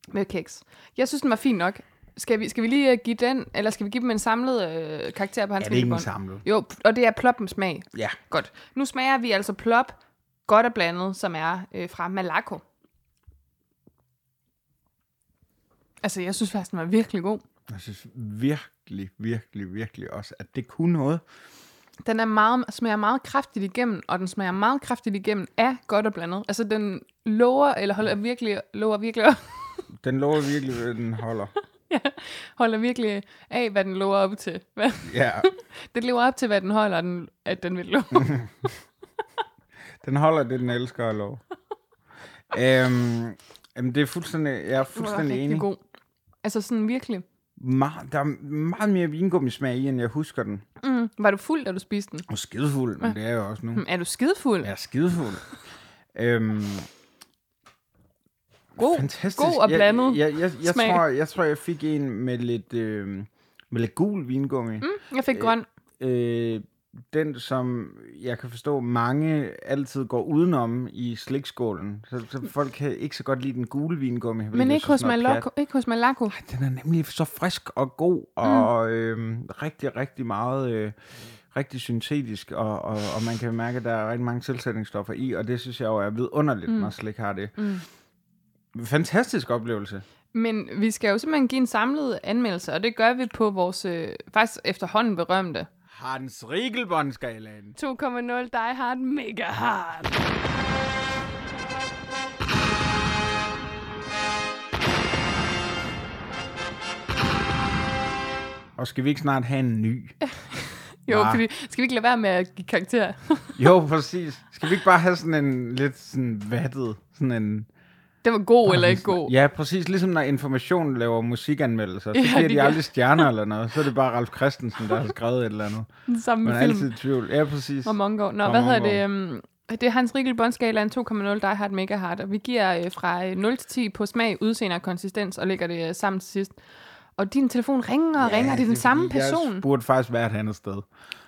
[SPEAKER 1] med kiks. Jeg synes, den var fin nok. Skal vi, skal vi lige øh, give den, eller skal vi give dem en samlet øh, karakter på hans
[SPEAKER 2] Er det ikke en
[SPEAKER 1] smilebånd?
[SPEAKER 2] samlet?
[SPEAKER 1] Jo, og det er ploppens smag.
[SPEAKER 2] Ja.
[SPEAKER 1] Godt. Nu smager vi altså plop, godt og blandet, som er øh, fra Malaco. Altså, jeg synes faktisk, den var virkelig god.
[SPEAKER 2] Jeg synes virkelig, virkelig, virkelig også, at det kunne noget.
[SPEAKER 1] Den er meget, smager meget kraftigt igennem, og den smager meget kraftigt igennem af godt og blandet. Altså, den lover, eller holder virkelig, lover virkelig,
[SPEAKER 2] Den lover virkelig, hvad den holder.
[SPEAKER 1] holder virkelig af, hvad den lover op til. Hvad?
[SPEAKER 2] Ja,
[SPEAKER 1] Den lever op til, hvad den holder, den, at den vil love.
[SPEAKER 2] den holder det, den elsker at love. øhm, jamen, det er fuldstændig, jeg er fuldstændig enig.
[SPEAKER 1] god. Altså, sådan virkelig.
[SPEAKER 2] Meget, der er meget mere vingummismag i, end jeg husker den.
[SPEAKER 1] Mm. Var du fuld, da du spiste den?
[SPEAKER 2] Og skidefuld, men det er jeg jo også nu.
[SPEAKER 1] Mm, Er du skidefuld?
[SPEAKER 2] Jeg er skidefuld. øhm,
[SPEAKER 1] god,
[SPEAKER 2] fantastisk.
[SPEAKER 1] god og blandet.
[SPEAKER 2] Jeg, jeg, jeg, jeg,
[SPEAKER 1] smag.
[SPEAKER 2] tror, jeg tror, jeg fik en med lidt, øh, med lidt gul vingummi. Mm.
[SPEAKER 1] Jeg fik grøn.
[SPEAKER 2] Øh, den, som jeg kan forstå, mange altid går udenom i slikskålen. Så, så folk kan ikke så godt lide den gule vingummi. hvilket
[SPEAKER 1] Mm. Men
[SPEAKER 2] jeg
[SPEAKER 1] ikke
[SPEAKER 2] synes
[SPEAKER 1] hos,
[SPEAKER 2] er noget
[SPEAKER 1] Malaco, ikke hos Malaco.
[SPEAKER 2] pjat. Den er nemlig så frisk og god,
[SPEAKER 1] Mm.
[SPEAKER 2] og øh, rigtig, rigtig meget... Øh, rigtig syntetisk, og, og, og man kan mærke, at der er rigtig mange tilsætningsstoffer i, og det synes jeg jo er vidunderligt, mm. når slik har det. Mm. Fantastisk oplevelse.
[SPEAKER 1] Men vi skal jo simpelthen give en samlet anmeldelse, og det gør vi på vores øh, faktisk efterhånden berømte
[SPEAKER 2] Hans Riegelbåndskalaen.
[SPEAKER 1] 2.0 Die Hard Mega Hard.
[SPEAKER 2] Og skal vi ikke snart have en ny?
[SPEAKER 1] Jo,
[SPEAKER 2] Hva?
[SPEAKER 1] fordi skal vi ikke lade være med at give karakter?
[SPEAKER 2] Jo, præcis. Skal vi ikke bare have sådan en lidt sådan vattet, sådan en...
[SPEAKER 1] det var god eller ikke god.
[SPEAKER 2] Ja, præcis. Ligesom når Information laver musikanmeldelser, så
[SPEAKER 1] Ja,
[SPEAKER 2] giver
[SPEAKER 1] de
[SPEAKER 2] de,
[SPEAKER 1] gør.
[SPEAKER 2] aldrig stjerner eller noget. Så er det bare Ralf Christensen, der har skrevet et eller andet.
[SPEAKER 1] Den samme
[SPEAKER 2] Man er
[SPEAKER 1] film
[SPEAKER 2] altid i tvivl. Ja, præcis.
[SPEAKER 1] og Mongo. Nå,
[SPEAKER 2] Og
[SPEAKER 1] hvad hedder
[SPEAKER 2] Mongo.
[SPEAKER 1] det? Um, det er Hans Rigel Bondskalaen 2.0 Die Hard Mega Hard, og vi giver øh, fra øh, 0 til 10 på smag, udseende og konsistens, og lægger det øh, sammen til sidst. Og din telefon ringer og ja, ringer, det er den samme
[SPEAKER 2] fordi, Jeg
[SPEAKER 1] person.
[SPEAKER 2] burde faktisk være et andet sted.
[SPEAKER 1] Nå.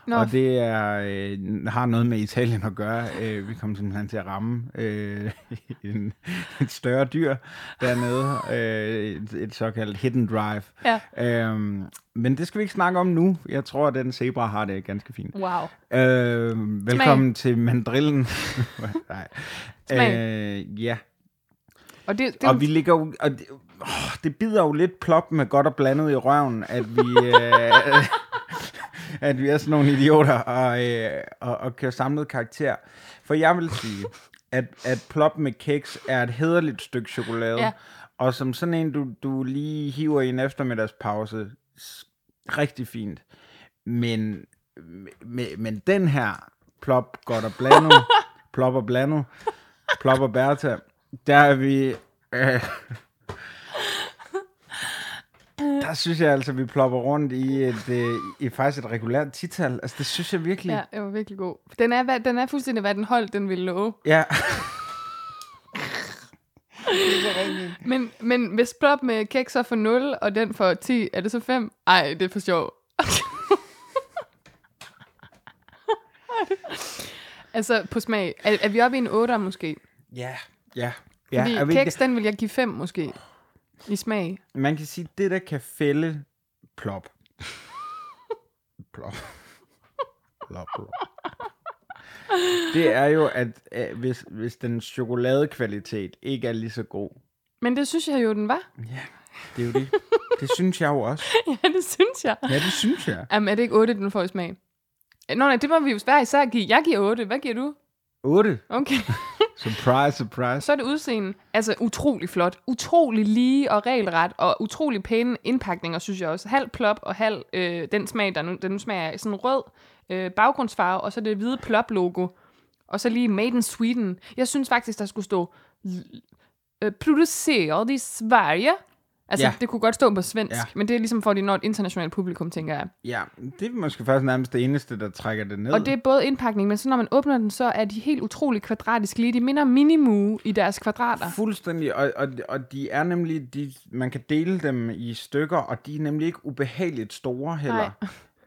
[SPEAKER 2] Nå. Og det er, øh, har noget med Italien at gøre. Øh, vi kom simpelthen til at ramme øh, en, et større dyr dernede. Øh, et, et såkaldt hidden drive.
[SPEAKER 1] Ja.
[SPEAKER 2] Øhm, men det skal vi ikke snakke om nu. Jeg tror, at den zebra har det ganske fint.
[SPEAKER 1] Wow.
[SPEAKER 2] Øh, velkommen til mandrillen. Nej.
[SPEAKER 1] Smag.
[SPEAKER 2] Øh, ja.
[SPEAKER 1] Og det, det
[SPEAKER 2] Og vi ligger jo... Og det, åh, det bider jo lidt plop med godt og blandet i røven, at vi... øh, at vi er sådan nogle idioter og, øh, og, og kører samlet karakter. For jeg vil sige, at, at plop med keks er et hederligt stykke chokolade.
[SPEAKER 1] Ja.
[SPEAKER 2] Ja. Og som sådan en, du, du lige hiver i en eftermiddagspause, s- rigtig fint. Men, men, men den her plop godt og blandet, plop og blandet, plop og Bertha, der er vi... Øh, der synes jeg altså, vi plopper rundt i, et, øh, i faktisk et regulært tital. Altså, det synes jeg virkelig.
[SPEAKER 1] Ja, det var virkelig god. Den er, hvad- den er fuldstændig, hvad den holdt, den ville love.
[SPEAKER 2] ja.
[SPEAKER 1] Men, men hvis Plop med keks er for 0, og den for 10, er det så 5? Ej, det er for sjov. altså, på smag. Er, er vi oppe i en 8 måske?
[SPEAKER 2] Ja. Ja.
[SPEAKER 1] Ja,
[SPEAKER 2] ja.
[SPEAKER 1] Fordi
[SPEAKER 2] er vi ikke-
[SPEAKER 1] keks, den vil jeg give 5 måske. I smag.
[SPEAKER 2] Man kan sige, det der kan fælde plop. plop. plop, plop. Det er jo, at øh, hvis, hvis den chokoladekvalitet ikke er lige så god.
[SPEAKER 1] Men det synes jeg jo, den var.
[SPEAKER 2] Ja, det er jo det. Det synes jeg jo også.
[SPEAKER 1] ja, det synes jeg.
[SPEAKER 2] Ja, det synes jeg.
[SPEAKER 1] Jamen, er det ikke 8, den får i smag? Nå nej, det må vi jo hver især give. Jeg giver 8. Hvad giver du?
[SPEAKER 2] 8.
[SPEAKER 1] Okay.
[SPEAKER 2] Surprise, surprise.
[SPEAKER 1] Så er det udseende. Altså utrolig flot, utrolig lige og regelret, og utrolig pæne indpakninger, synes jeg også. Halv plop og halv øh, den smag, der nu, den nu smager af sådan rød øh, baggrundsfarve, og så det hvide plop-logo. Og så lige Made in Sweden. Jeg synes faktisk, der skulle stå øh, produceret i Sverige. Altså, ja.
[SPEAKER 2] Ja.
[SPEAKER 1] det kunne godt stå på svensk, ja.
[SPEAKER 2] Ja.
[SPEAKER 1] men det er ligesom for, at de når et internationalt publikum, tænker jeg.
[SPEAKER 2] Ja, det er måske faktisk nærmest det eneste, der trækker det ned.
[SPEAKER 1] Og det er både indpakning, men så når man åbner den, så er de helt utrolig kvadratisk lige. De minder minimu i deres kvadrater.
[SPEAKER 2] Fuldstændig, og, og, og de er nemlig, de, man kan dele dem i stykker, og de er nemlig ikke ubehageligt store heller.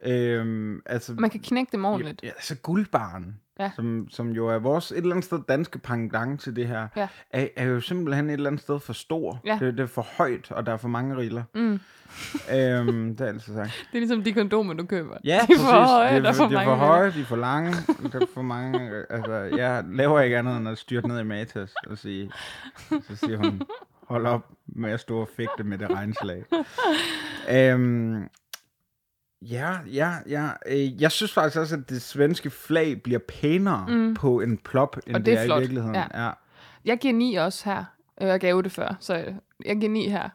[SPEAKER 2] Øhm, altså,
[SPEAKER 1] Man kan knække dem ordentligt.
[SPEAKER 2] Ja, altså guldbaren,
[SPEAKER 1] Ja.
[SPEAKER 2] ja. som, som jo er vores et eller andet sted danske pangdang til det her,
[SPEAKER 1] Ja.
[SPEAKER 2] er, er jo simpelthen et eller andet sted for stor.
[SPEAKER 1] Ja.
[SPEAKER 2] Det, det er for højt, og der er for mange riller. Mm. øhm, det er altid sagt.
[SPEAKER 1] Det er ligesom de kondomer, du køber.
[SPEAKER 2] Ja,
[SPEAKER 1] de er for høje,
[SPEAKER 2] det
[SPEAKER 1] der
[SPEAKER 2] er
[SPEAKER 1] er for
[SPEAKER 2] de er
[SPEAKER 1] mange.
[SPEAKER 2] for høje, de er for lange, der er for mange. øh, Altså, jeg laver ikke andet end at styrte ned i Matas og sige, så siger hun, Hold op med at stå og fægte med det regnslag. øhm, ja, ja, ja. Øh, jeg synes faktisk også, at det svenske flag bliver pænere mm. på en plop, end
[SPEAKER 1] Og
[SPEAKER 2] det,
[SPEAKER 1] det er
[SPEAKER 2] er
[SPEAKER 1] flot,
[SPEAKER 2] i virkeligheden.
[SPEAKER 1] ja.
[SPEAKER 2] Ja.
[SPEAKER 1] Jeg giver 9 også her. Øh, Jeg gav 8 før, så øh, jeg giver 9 her.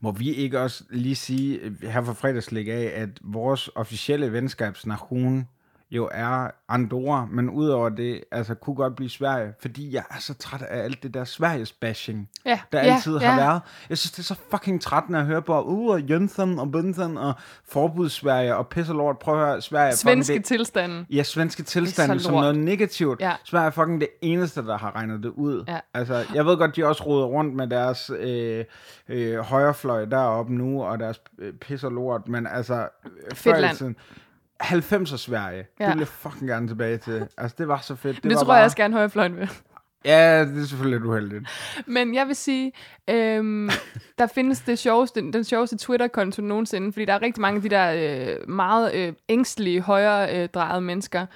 [SPEAKER 2] Må vi ikke også lige sige øh, her fra fredagslæg af, at vores officielle venskabsnation jo er Andorra, men udover det, altså kunne godt blive Sverige, fordi jeg er så træt af alt det der Sveriges bashing,
[SPEAKER 1] Ja,
[SPEAKER 2] der
[SPEAKER 1] ja,
[SPEAKER 2] altid har
[SPEAKER 1] ja.
[SPEAKER 2] været. Jeg synes, det er så fucking trættende at høre på, uh, og Jönsson og Bønsson og Forbuds-Sverige og pisse lort, prøv at høre, Sverige er fucking
[SPEAKER 1] Svenske tilstanden.
[SPEAKER 2] Ja, svenske tilstande
[SPEAKER 1] så
[SPEAKER 2] som
[SPEAKER 1] lort.
[SPEAKER 2] noget negativt.
[SPEAKER 1] Ja.
[SPEAKER 2] Sverige er fucking det eneste, der har regnet det ud.
[SPEAKER 1] Ja.
[SPEAKER 2] Altså, jeg ved godt, de også roder rundt med deres øh, øh, højrefløj deroppe nu, og deres øh, pis og lort, men altså... øh, før i
[SPEAKER 1] land.
[SPEAKER 2] tiden- 90'er Sverige.
[SPEAKER 1] Ja.
[SPEAKER 2] Ja. Det vil jeg fucking gerne tilbage til. Altså, det var så fedt.
[SPEAKER 1] Det, det
[SPEAKER 2] var
[SPEAKER 1] tror jeg også gerne højrefløjen vil.
[SPEAKER 2] Ja, det er selvfølgelig lidt uheldigt.
[SPEAKER 1] Men jeg vil sige, øhm, der findes det sjoveste, den sjoveste Twitter-konto nogensinde, fordi der er rigtig mange af de der øh, meget øh, ængstelige, højredrejede øh, drejede mennesker,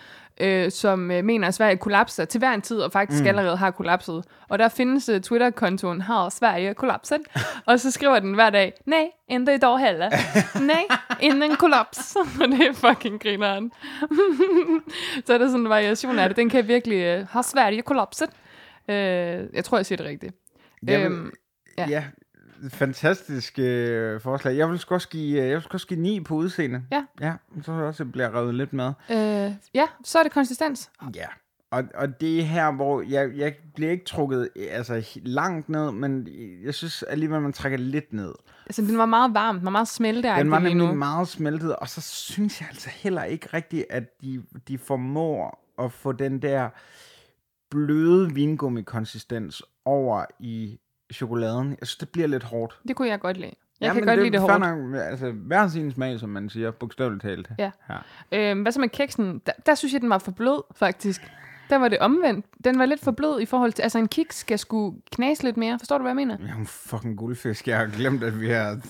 [SPEAKER 1] øh, som øh, mener, at Sverige kollapser til hver en tid, og faktisk mm. allerede har kollapset. Og der findes øh, Twitter-kontoen, har Sverige kollapset? og så skriver den hver dag, nej, inte idag heller. nej, inden kollaps. og det er fucking grineren. så er der sådan en variation af det. Den kan virkelig, øh, har Sverige kollapset? Øh, jeg tror, jeg siger det rigtigt.
[SPEAKER 2] Jeg vil,
[SPEAKER 1] Øhm,
[SPEAKER 2] ja.
[SPEAKER 1] ja.
[SPEAKER 2] ja. Fantastisk øh, forslag. Jeg vil sgu også give, øh, jeg vil sgu også give 9 på udseende.
[SPEAKER 1] Ja.
[SPEAKER 2] Ja, så tror jeg også, jeg bliver revet lidt med.
[SPEAKER 1] Øh, ja, så er det konsistens.
[SPEAKER 2] Ja, og, og det er her, hvor jeg, jeg bliver ikke trukket øh, altså, he- langt ned, men jeg synes alligevel, man trækker lidt ned.
[SPEAKER 1] Altså, den var meget varm, den var meget smelteagtig
[SPEAKER 2] Den var
[SPEAKER 1] lige
[SPEAKER 2] nemlig
[SPEAKER 1] nu.
[SPEAKER 2] meget smeltet, og så synes jeg altså heller ikke rigtigt, at de, de formår at få den der bløde vingummi-konsistens over i chokoladen. Jeg synes, det bliver lidt hårdt.
[SPEAKER 1] Det kunne jeg godt lide. Jeg
[SPEAKER 2] Ja,
[SPEAKER 1] ja, kan
[SPEAKER 2] men
[SPEAKER 1] godt lide det
[SPEAKER 2] er
[SPEAKER 1] hårdt.
[SPEAKER 2] fair Nok, altså, hver sin smag, som man siger, bogstaveligt talt.
[SPEAKER 1] Ja.
[SPEAKER 2] Ja.
[SPEAKER 1] Øh, hvad så med kiksen? Der, der synes jeg, den var for blød, faktisk. Der var det omvendt. Den var lidt for blød i forhold til... Altså, en kiks skal sgu knase lidt mere. Forstår du, hvad jeg mener?
[SPEAKER 2] Jeg er en fucking guldfisk. Jeg har glemt, at vi har...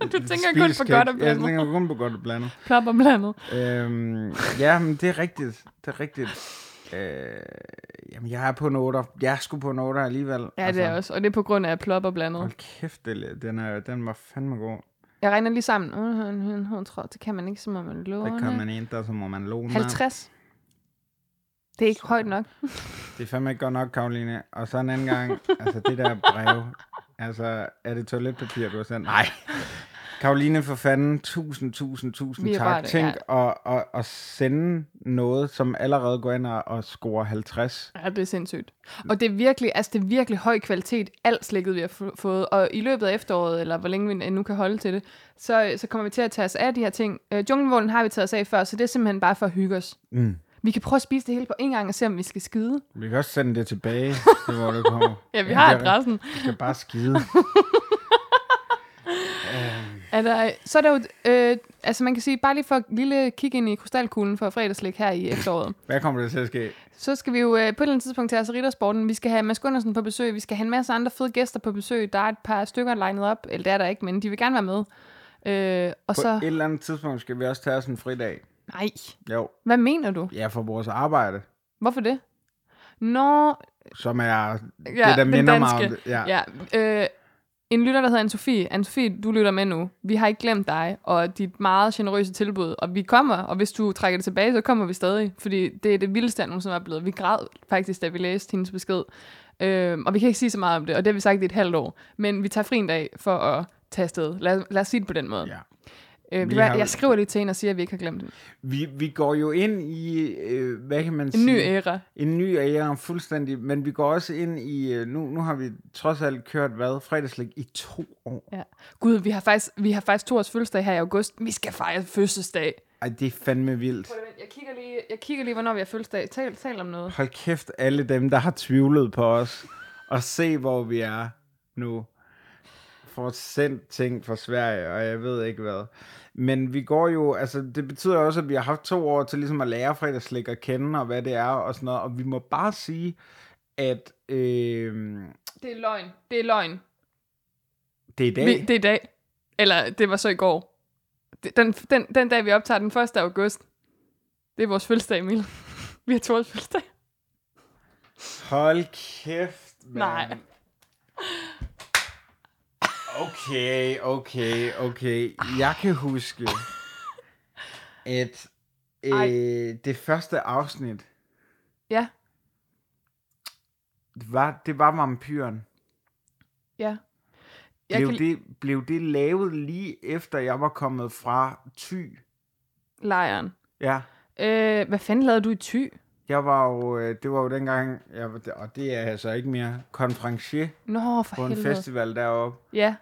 [SPEAKER 1] kun på godt og
[SPEAKER 2] Jeg
[SPEAKER 1] blandet.
[SPEAKER 2] tænker kun på godt og blandet.
[SPEAKER 1] Plop om blandet.
[SPEAKER 2] Øhm, ja, men det er rigtigt. Det er rigtigt. Øh, jamen, jeg er på en 8'er. Jeg er sgu på en 8'er alligevel. Altså,
[SPEAKER 1] Ja, det er også. Altså, Og det er på grund af plop og blandet.
[SPEAKER 2] Hold kæft, det, er- den, er, den var fandme god.
[SPEAKER 1] Jeg regner lige sammen. Uh, hun tror, det kan man ikke, så må man
[SPEAKER 2] Der kom
[SPEAKER 1] låne.
[SPEAKER 2] man ind, der så må man låne.
[SPEAKER 1] 50. Det er ikke højt nok.
[SPEAKER 2] Det er fandme ikke godt nok, Karoline. Og så en anden gang, altså det der brev. Altså, er det toiletpapir, du har sendt? Nej. Karoline, for fanden, tusind, tusind, tusind
[SPEAKER 1] Vi er bare
[SPEAKER 2] tak.
[SPEAKER 1] det,
[SPEAKER 2] Tænk at, at, at sende noget, som allerede går ind og, og scorer 50.
[SPEAKER 1] Ja, det er sindssygt. Og det er virkelig, altså det er virkelig høj kvalitet, alt slikket vi har fu- fået. Og i løbet af efteråret, eller hvor længe vi end nu kan holde til det, så, så kommer vi til at tage os af de her ting. Øh, junglenvålen har vi taget os af før, så det er simpelthen bare for at hygge os.
[SPEAKER 2] Mm.
[SPEAKER 1] Vi kan prøve at spise det hele på en gang og se, om vi skal skide.
[SPEAKER 2] Vi kan også sende det tilbage, det hvor det kommer.
[SPEAKER 1] Ja, vi har
[SPEAKER 2] det er
[SPEAKER 1] adressen.
[SPEAKER 2] rigtigt. Vi skal bare skide.
[SPEAKER 1] Er der, så er der jo, øh, altså man kan sige, bare lige for et lille kig ind i krystalkuglen for fredagslik her i efteråret.
[SPEAKER 2] Hvad kommer der til at ske?
[SPEAKER 1] Så skal vi jo øh, på et eller andet tidspunkt til altså Riddersporten. Vi skal have Mads Gundersen på besøg. Vi skal have en masse andre fede gæster på besøg. Der er et par stykker legnet op. Eller det er der ikke, men de vil gerne være med. Øh, og
[SPEAKER 2] På et
[SPEAKER 1] så...
[SPEAKER 2] eller andet tidspunkt skal vi også tage os en fridag.
[SPEAKER 1] Nej.
[SPEAKER 2] Jo,
[SPEAKER 1] Hvad mener du?
[SPEAKER 2] ja, for vores arbejde,
[SPEAKER 1] Hvorfor det? Nå...
[SPEAKER 2] som er
[SPEAKER 1] Ja,
[SPEAKER 2] det, der
[SPEAKER 1] den
[SPEAKER 2] minder mig om
[SPEAKER 1] danske.
[SPEAKER 2] det. Ja.
[SPEAKER 1] Ja, øh, en lytter, der hedder Anne-Sophie. Anne-Sophie, du lytter med nu. Vi har ikke glemt dig og dit meget generøse tilbud. Og vi kommer, og hvis du trækker det tilbage, så kommer vi stadig. Fordi det er det vildeste, jeg nogensinde er blevet. Vi græd faktisk, da vi læste hendes besked. Øh, og vi kan ikke sige så meget om det, og det har vi sagt i et halvt år. Men vi tager fri en dag for at tage afsted. Lad, lad os sige det på den måde.
[SPEAKER 2] ja.
[SPEAKER 1] øh,
[SPEAKER 2] vi
[SPEAKER 1] det var,
[SPEAKER 2] har-
[SPEAKER 1] Jeg skriver lige til hende og siger, at vi ikke har glemt hende.
[SPEAKER 2] Vi, vi går jo ind i, øh, hvad kan man
[SPEAKER 1] En
[SPEAKER 2] sige?
[SPEAKER 1] ny æra.
[SPEAKER 2] En ny æra, fuldstændig. Men vi går også ind i, øh, nu, nu har vi trods alt kørt, hvad, fredagslæg i to år.
[SPEAKER 1] Ja. Gud, vi har faktisk, vi har faktisk to års fødselsdag her i august. Vi skal fejre fødselsdag.
[SPEAKER 2] Ej, det er fandme vildt.
[SPEAKER 1] Jeg kigger lige, jeg kigger lige hvornår vi har fødselsdag. Tal, tal om noget.
[SPEAKER 2] Hold kæft, alle dem, der har tvivlet på os, og se, hvor vi er nu. Får sendt ting fra Sverige, og jeg ved ikke hvad. Men vi går jo, altså det betyder også, at vi har haft to år til ligesom at lære fredagslik at kende, og hvad det er og sådan noget. Og vi må bare sige, at øh,
[SPEAKER 1] Det er løgn. Det er løgn.
[SPEAKER 2] det er i dag.
[SPEAKER 1] Vi, det er i dag. Eller det var så i går. Det- Den, den, den dag, vi optager den 1. august, det er vores fødselsdag, Emil. Vi har to års fødselsdag.
[SPEAKER 2] Hold kæft, man.
[SPEAKER 1] Nej.
[SPEAKER 2] Okay, okay, okay. Jeg kan huske, at
[SPEAKER 1] Ej.
[SPEAKER 2] øh, det første afsnit
[SPEAKER 1] Ja,
[SPEAKER 2] var, det var vampyren.
[SPEAKER 1] ja. Jeg
[SPEAKER 2] Blev,
[SPEAKER 1] kan det...
[SPEAKER 2] det, blev det lavet lige efter, jeg var kommet fra Thy?
[SPEAKER 1] lejren.
[SPEAKER 2] Ja.
[SPEAKER 1] Øh, hvad fanden lavede du i ty?
[SPEAKER 2] Jeg var jo, øh, det var jo dengang, jeg, var- og det er jeg så ikke mere, konferencier
[SPEAKER 1] Nå, for
[SPEAKER 2] på en
[SPEAKER 1] helvede.
[SPEAKER 2] festival deroppe.
[SPEAKER 1] Ja,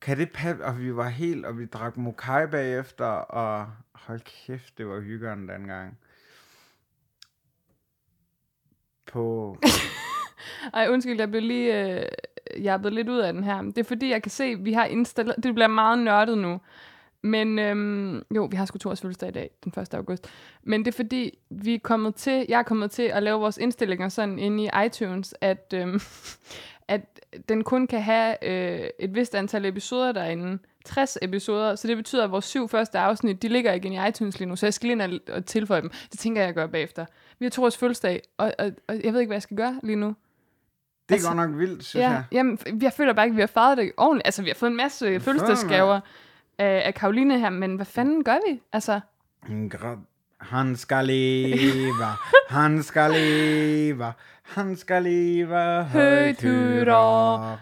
[SPEAKER 2] Kan det passe? Og vi var helt, og vi drak mokai bagefter, og hold kæft, det var hyggeren dengang. På...
[SPEAKER 1] Ej, undskyld, jeg blev lige øh, jappet lidt ud af den her. Det er fordi, jeg kan se, at vi har installeret... Det bliver meget nørdet nu. Men øhm, jo, vi har sgu Thors fødselsdag i dag, den 1. august. Men det er fordi, vi er kommet til, jeg er kommet til at lave vores indstillinger sådan inde i iTunes, at, øhm, at den kun kan have øh, et vist antal episoder derinde. 60 episoder, så det betyder, at vores syv første afsnit, de ligger ikke inde i iTunes lige nu, så jeg skal lige ind og- og tilføje dem. Det tænker jeg, jeg gør bagefter. Vi har Thors fødselsdag, og, og, og jeg ved ikke, hvad jeg skal gøre lige nu.
[SPEAKER 2] Det er
[SPEAKER 1] Altså,
[SPEAKER 2] godt nok vildt, synes
[SPEAKER 1] Ja,
[SPEAKER 2] jeg.
[SPEAKER 1] jamen, f- jeg føler bare ikke, at vi har fejret det ordentligt. Altså, vi har fået en masse fødselsdagsgaver af, af Karoline her, men hvad fanden gør vi? Altså,
[SPEAKER 2] En gra- Han skal leve, han skal leve, han skal leve højt
[SPEAKER 1] Højt
[SPEAKER 2] hurra.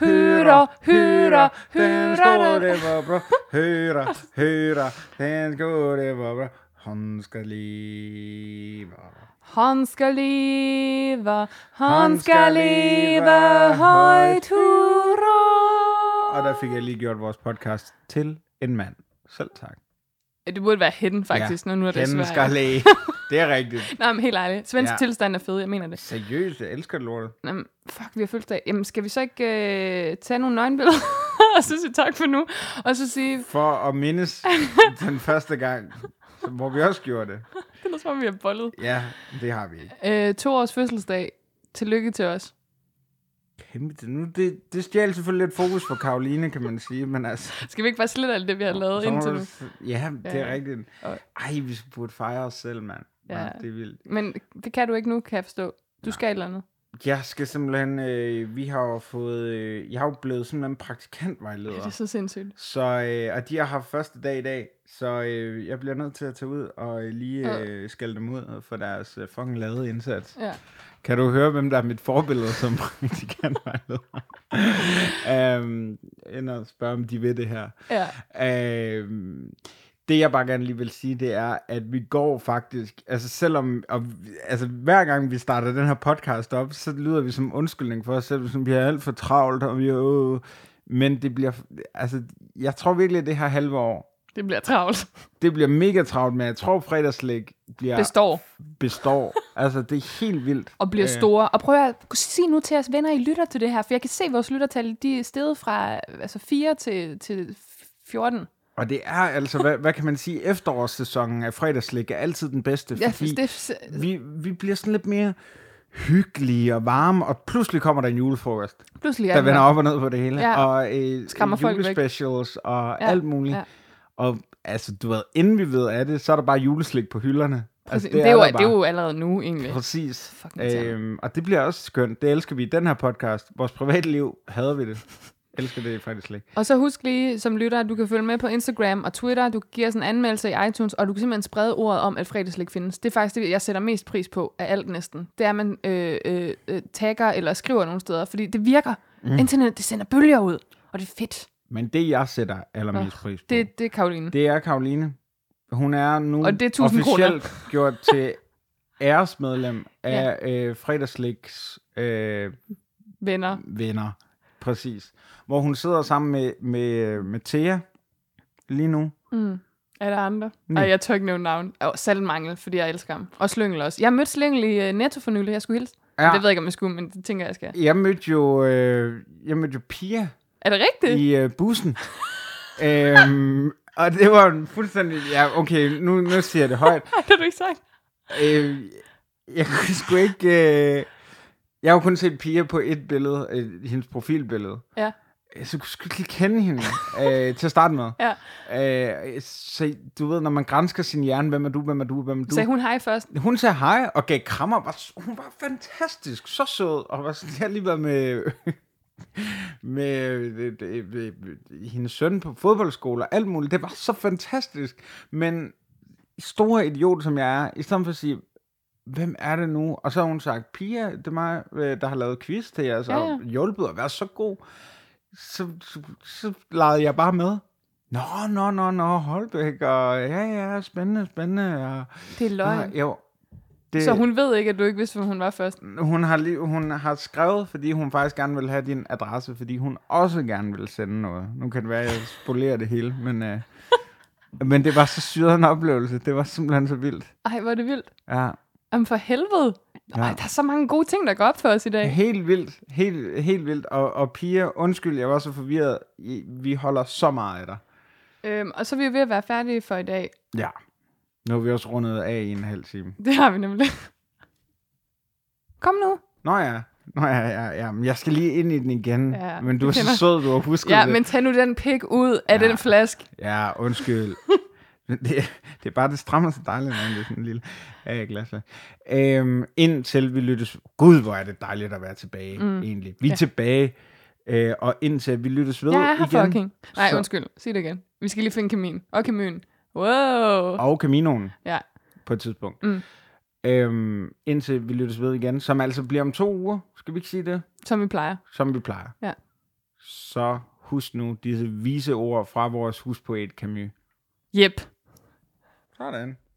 [SPEAKER 1] Hurra, hurra,
[SPEAKER 2] den
[SPEAKER 1] hurra,
[SPEAKER 2] store var bra. Hurra, hurra, den store var bra. Han skal leve.
[SPEAKER 1] han skal leve,
[SPEAKER 2] Han
[SPEAKER 1] han
[SPEAKER 2] skal
[SPEAKER 1] skal leve
[SPEAKER 2] leve
[SPEAKER 1] højt,
[SPEAKER 2] højt.
[SPEAKER 1] hurra.
[SPEAKER 2] Og der fik jeg lige gjort vores podcast til en mand. Selv tak.
[SPEAKER 1] Det burde være hidden, faktisk, når nu er det
[SPEAKER 2] Den
[SPEAKER 1] svært.
[SPEAKER 2] skal læge. Det er rigtigt.
[SPEAKER 1] Nej, men helt ærligt. Svensk
[SPEAKER 2] Ja.
[SPEAKER 1] ja. tilstand er fed, jeg mener det.
[SPEAKER 2] Seriøst, jeg elsker lortet.
[SPEAKER 1] Nå, men fuck, vi har fødselsdag. Jamen, skal vi så ikke øh, tage nogle nøgenbilleder? og så sige tak for nu. Og så sige,
[SPEAKER 2] For at mindes den første gang, hvor vi også gjorde det.
[SPEAKER 1] det er som om, vi har bollet.
[SPEAKER 2] Ja, det har vi ikke.
[SPEAKER 1] Øh, to års fødselsdag. Tillykke til os.
[SPEAKER 2] Kæmpe, det- nu, det, det stjal selvfølgelig lidt fokus for Karoline, kan man sige, men altså...
[SPEAKER 1] Skal vi ikke bare slette alt det, vi har lavet
[SPEAKER 2] så må
[SPEAKER 1] indtil
[SPEAKER 2] du
[SPEAKER 1] nu?
[SPEAKER 2] s- Ja, det er
[SPEAKER 1] Ja.
[SPEAKER 2] rigtigt.
[SPEAKER 1] Og-
[SPEAKER 2] Ej, vi burde fejre os selv, mand. Ja.
[SPEAKER 1] Ja.
[SPEAKER 2] det er vildt.
[SPEAKER 1] Men det kan du ikke nu, kan jeg forstå. Du skal et eller andet.
[SPEAKER 2] Jeg skal simpelthen... Øh, vi har jo fået... Øh, jeg er jo blevet simpelthen praktikantvejleder.
[SPEAKER 1] Det er så sindssygt.
[SPEAKER 2] Så, øh, og de har haft første dag i dag, så øh, jeg bliver nødt til at tage ud og øh, lige øh, skælde dem ud for deres øh, fucking lavede indsats.
[SPEAKER 1] Ja.
[SPEAKER 2] Kan du høre, hvem der er mit forbillede som praktikantvejleder? øhm, end at spørge, om de ved det her.
[SPEAKER 1] Ja.
[SPEAKER 2] Øhm, det jeg bare gerne lige vil sige, det er, at vi går faktisk, altså selvom, og, vi- altså hver gang vi starter den her podcast op, så lyder vi som undskyldning for os selv, som vi er alt for travlt, og vi er, øh, men det bliver, altså jeg tror virkelig, at det her halve år,
[SPEAKER 1] Det bliver travlt.
[SPEAKER 2] det bliver mega travlt, men jeg tror fredagslæg bliver,
[SPEAKER 1] Består.
[SPEAKER 2] består. altså det er helt vildt.
[SPEAKER 1] Og bliver
[SPEAKER 2] Øh,
[SPEAKER 1] store. Og prøv at sige nu til os venner, I lytter til det her. For jeg kan se, at vores lyttertal de er steget fra øh, altså 4 til, til 14.
[SPEAKER 2] Og det er altså, hvad, hvad kan man sige, efterårssæsonen af fredagslæg er altid den bedste,
[SPEAKER 1] Ja,
[SPEAKER 2] fordi
[SPEAKER 1] det, er s-
[SPEAKER 2] vi, vi bliver sådan lidt mere hyggelige og varme, og pludselig kommer der en julefrokost,
[SPEAKER 1] pludselig er
[SPEAKER 2] der
[SPEAKER 1] det
[SPEAKER 2] vender
[SPEAKER 1] her.
[SPEAKER 2] op og ned på det hele,
[SPEAKER 1] Ja.
[SPEAKER 2] og øh,
[SPEAKER 1] Skræmmer folk væk.
[SPEAKER 2] julespecials og
[SPEAKER 1] Ja,
[SPEAKER 2] alt muligt.
[SPEAKER 1] ja.
[SPEAKER 2] Og altså, du ved, inden vi ved af det, så er der bare juleslik på hylderne. Altså,
[SPEAKER 1] Præcis. det, er
[SPEAKER 2] der
[SPEAKER 1] jo,
[SPEAKER 2] bare.
[SPEAKER 1] det er jo allerede nu, egentlig.
[SPEAKER 2] Præcis.
[SPEAKER 1] Fucking irriterende.
[SPEAKER 2] Øhm, og det bliver også skønt. Det elsker vi i den her podcast. Vores privatliv hader vi det. elsker det faktisk ikke.
[SPEAKER 1] Og så husk lige som lytter, at du kan følge med på Instagram og Twitter. Du kan give os en anmeldelse i iTunes, og du kan simpelthen sprede ordet om, at fredagslik findes. Det er faktisk det, jeg sætter mest pris på af alt næsten. Det er, at man øh, øh, øh, tagger eller skriver nogle steder, fordi det virker. Mm. Internet, det sender bølger ud, og det er fedt.
[SPEAKER 2] Men det, jeg sætter allermest pris på,
[SPEAKER 1] Det, det er Karoline. Det.
[SPEAKER 2] Mm. Det er Karoline. Hun er nu
[SPEAKER 1] Og det er 1000 kroner.
[SPEAKER 2] officielt gjort til æresmedlem af øh, fredagsliks øh,
[SPEAKER 1] Venner.
[SPEAKER 2] venner. Præcis. Hvor hun sidder sammen med, øh, med, med Thea lige nu.
[SPEAKER 1] Mm. Er der andre? Nej, jeg tør ikke nævne navn. Og Salmangel, fordi jeg elsker ham. Og Slyngel også. Jeg mødte Slyngel i øh, Netto for nylig. Jeg skulle hilse.
[SPEAKER 2] Ja.
[SPEAKER 1] Ja. Det ved jeg ikke, om jeg skulle, men det tænker jeg, jeg skal.
[SPEAKER 2] Jeg mødte jo, øh, jeg mødte jo Pia
[SPEAKER 1] Er det rigtigt?
[SPEAKER 2] i øh, bussen. øhm, og det var en fuldstændig... Ja, okay, nu, nu siger jeg det højt.
[SPEAKER 1] Ja. Har du ikke sagt?
[SPEAKER 2] øh, jeg kunne sgu ikke... Øh, jeg har jo kun set Pia på et billede, øh, hendes profilbillede.
[SPEAKER 1] Ja.
[SPEAKER 2] Øh, Så kunne jeg sgu ikke lige kende hende øh, til at starte med.
[SPEAKER 1] Ja.
[SPEAKER 2] Øh, så du ved, når man grænsker sin hjerne, hvem er du, hvem er du, hvem er du?
[SPEAKER 1] Sagde hun hej først?
[SPEAKER 2] hun sagde hej og gav krammer. Var, s- hun var fantastisk, så sød, og var sådan, jeg har lige været med med øh, øh, øh, øh, hendes søn på fodboldskole og alt muligt. Det var så fantastisk. Men store idiot som jeg er, i stedet for at sige, hvem er det nu? Og så har hun sagt, Pia, det er mig, øh, der har lavet quiz til jer, så
[SPEAKER 1] Ja,
[SPEAKER 2] ja,
[SPEAKER 1] ja.
[SPEAKER 2] ja. hjulpet og været så god. Så, så, så legede jeg bare med. Nå, nå, nå, nå, Holbæk, og ja, ja, spændende, spændende. Og,
[SPEAKER 1] Det er løgn.
[SPEAKER 2] og, jo, det,
[SPEAKER 1] Så hun ved ikke, at du ikke vidste, hvem hun var først.
[SPEAKER 2] hun har, lige, hun har skrevet, fordi hun faktisk gerne vil have din adresse, fordi hun også gerne vil sende noget. Nu kan det være, at jeg spolerer det hele, men, øh, men det var så syret en oplevelse. Det var simpelthen så vildt.
[SPEAKER 1] Ej, hvor er det vildt.
[SPEAKER 2] Ja.
[SPEAKER 1] Jamen for helvede.
[SPEAKER 2] Ja.
[SPEAKER 1] Ej, der er så mange gode ting, der går op for os i dag.
[SPEAKER 2] Helt vildt. Helt, helt vildt. Og, og piger, undskyld, jeg var så forvirret. I- Vi holder så meget af dig.
[SPEAKER 1] Øhm, og så er vi jo ved at være færdige for i dag.
[SPEAKER 2] Ja. Nu har vi også rundet af i en halv time.
[SPEAKER 1] Det har vi nemlig. Kom nu.
[SPEAKER 2] Nå ja. Nå ja, ja, ja. Men jeg skal lige ind i den igen.
[SPEAKER 1] Ja,
[SPEAKER 2] Ja, men du
[SPEAKER 1] det
[SPEAKER 2] er så
[SPEAKER 1] kender-
[SPEAKER 2] sød, du har husket
[SPEAKER 1] Ja,
[SPEAKER 2] det.
[SPEAKER 1] men tag nu den pik ud af ja.
[SPEAKER 2] Ja.
[SPEAKER 1] den flaske.
[SPEAKER 2] Ja, undskyld. Men det, det er bare, det strammer så dejligt, når det er sådan en lille øh, glasflag. Øhm, indtil vi lyttes... Gud, hvor er det dejligt at være tilbage, mm. egentlig. Vi er ja. tilbage, øh, og indtil vi lyttes ved
[SPEAKER 1] Jeg er her
[SPEAKER 2] igen.
[SPEAKER 1] fucking. Nej,
[SPEAKER 2] så-
[SPEAKER 1] undskyld. Sig det igen. Vi skal lige finde kamin. Og kaminen. Wow.
[SPEAKER 2] Og Caminoen
[SPEAKER 1] Ja.
[SPEAKER 2] på et tidspunkt.
[SPEAKER 1] Mm.
[SPEAKER 2] Øhm, indtil vi lyttes ved igen, som altså bliver om to uger, skal vi ikke sige det?
[SPEAKER 1] Som vi plejer.
[SPEAKER 2] Som vi plejer.
[SPEAKER 1] Ja.
[SPEAKER 2] Så husk nu disse vise ord fra vores huspoet Camus.
[SPEAKER 1] Yep.
[SPEAKER 2] Sådan.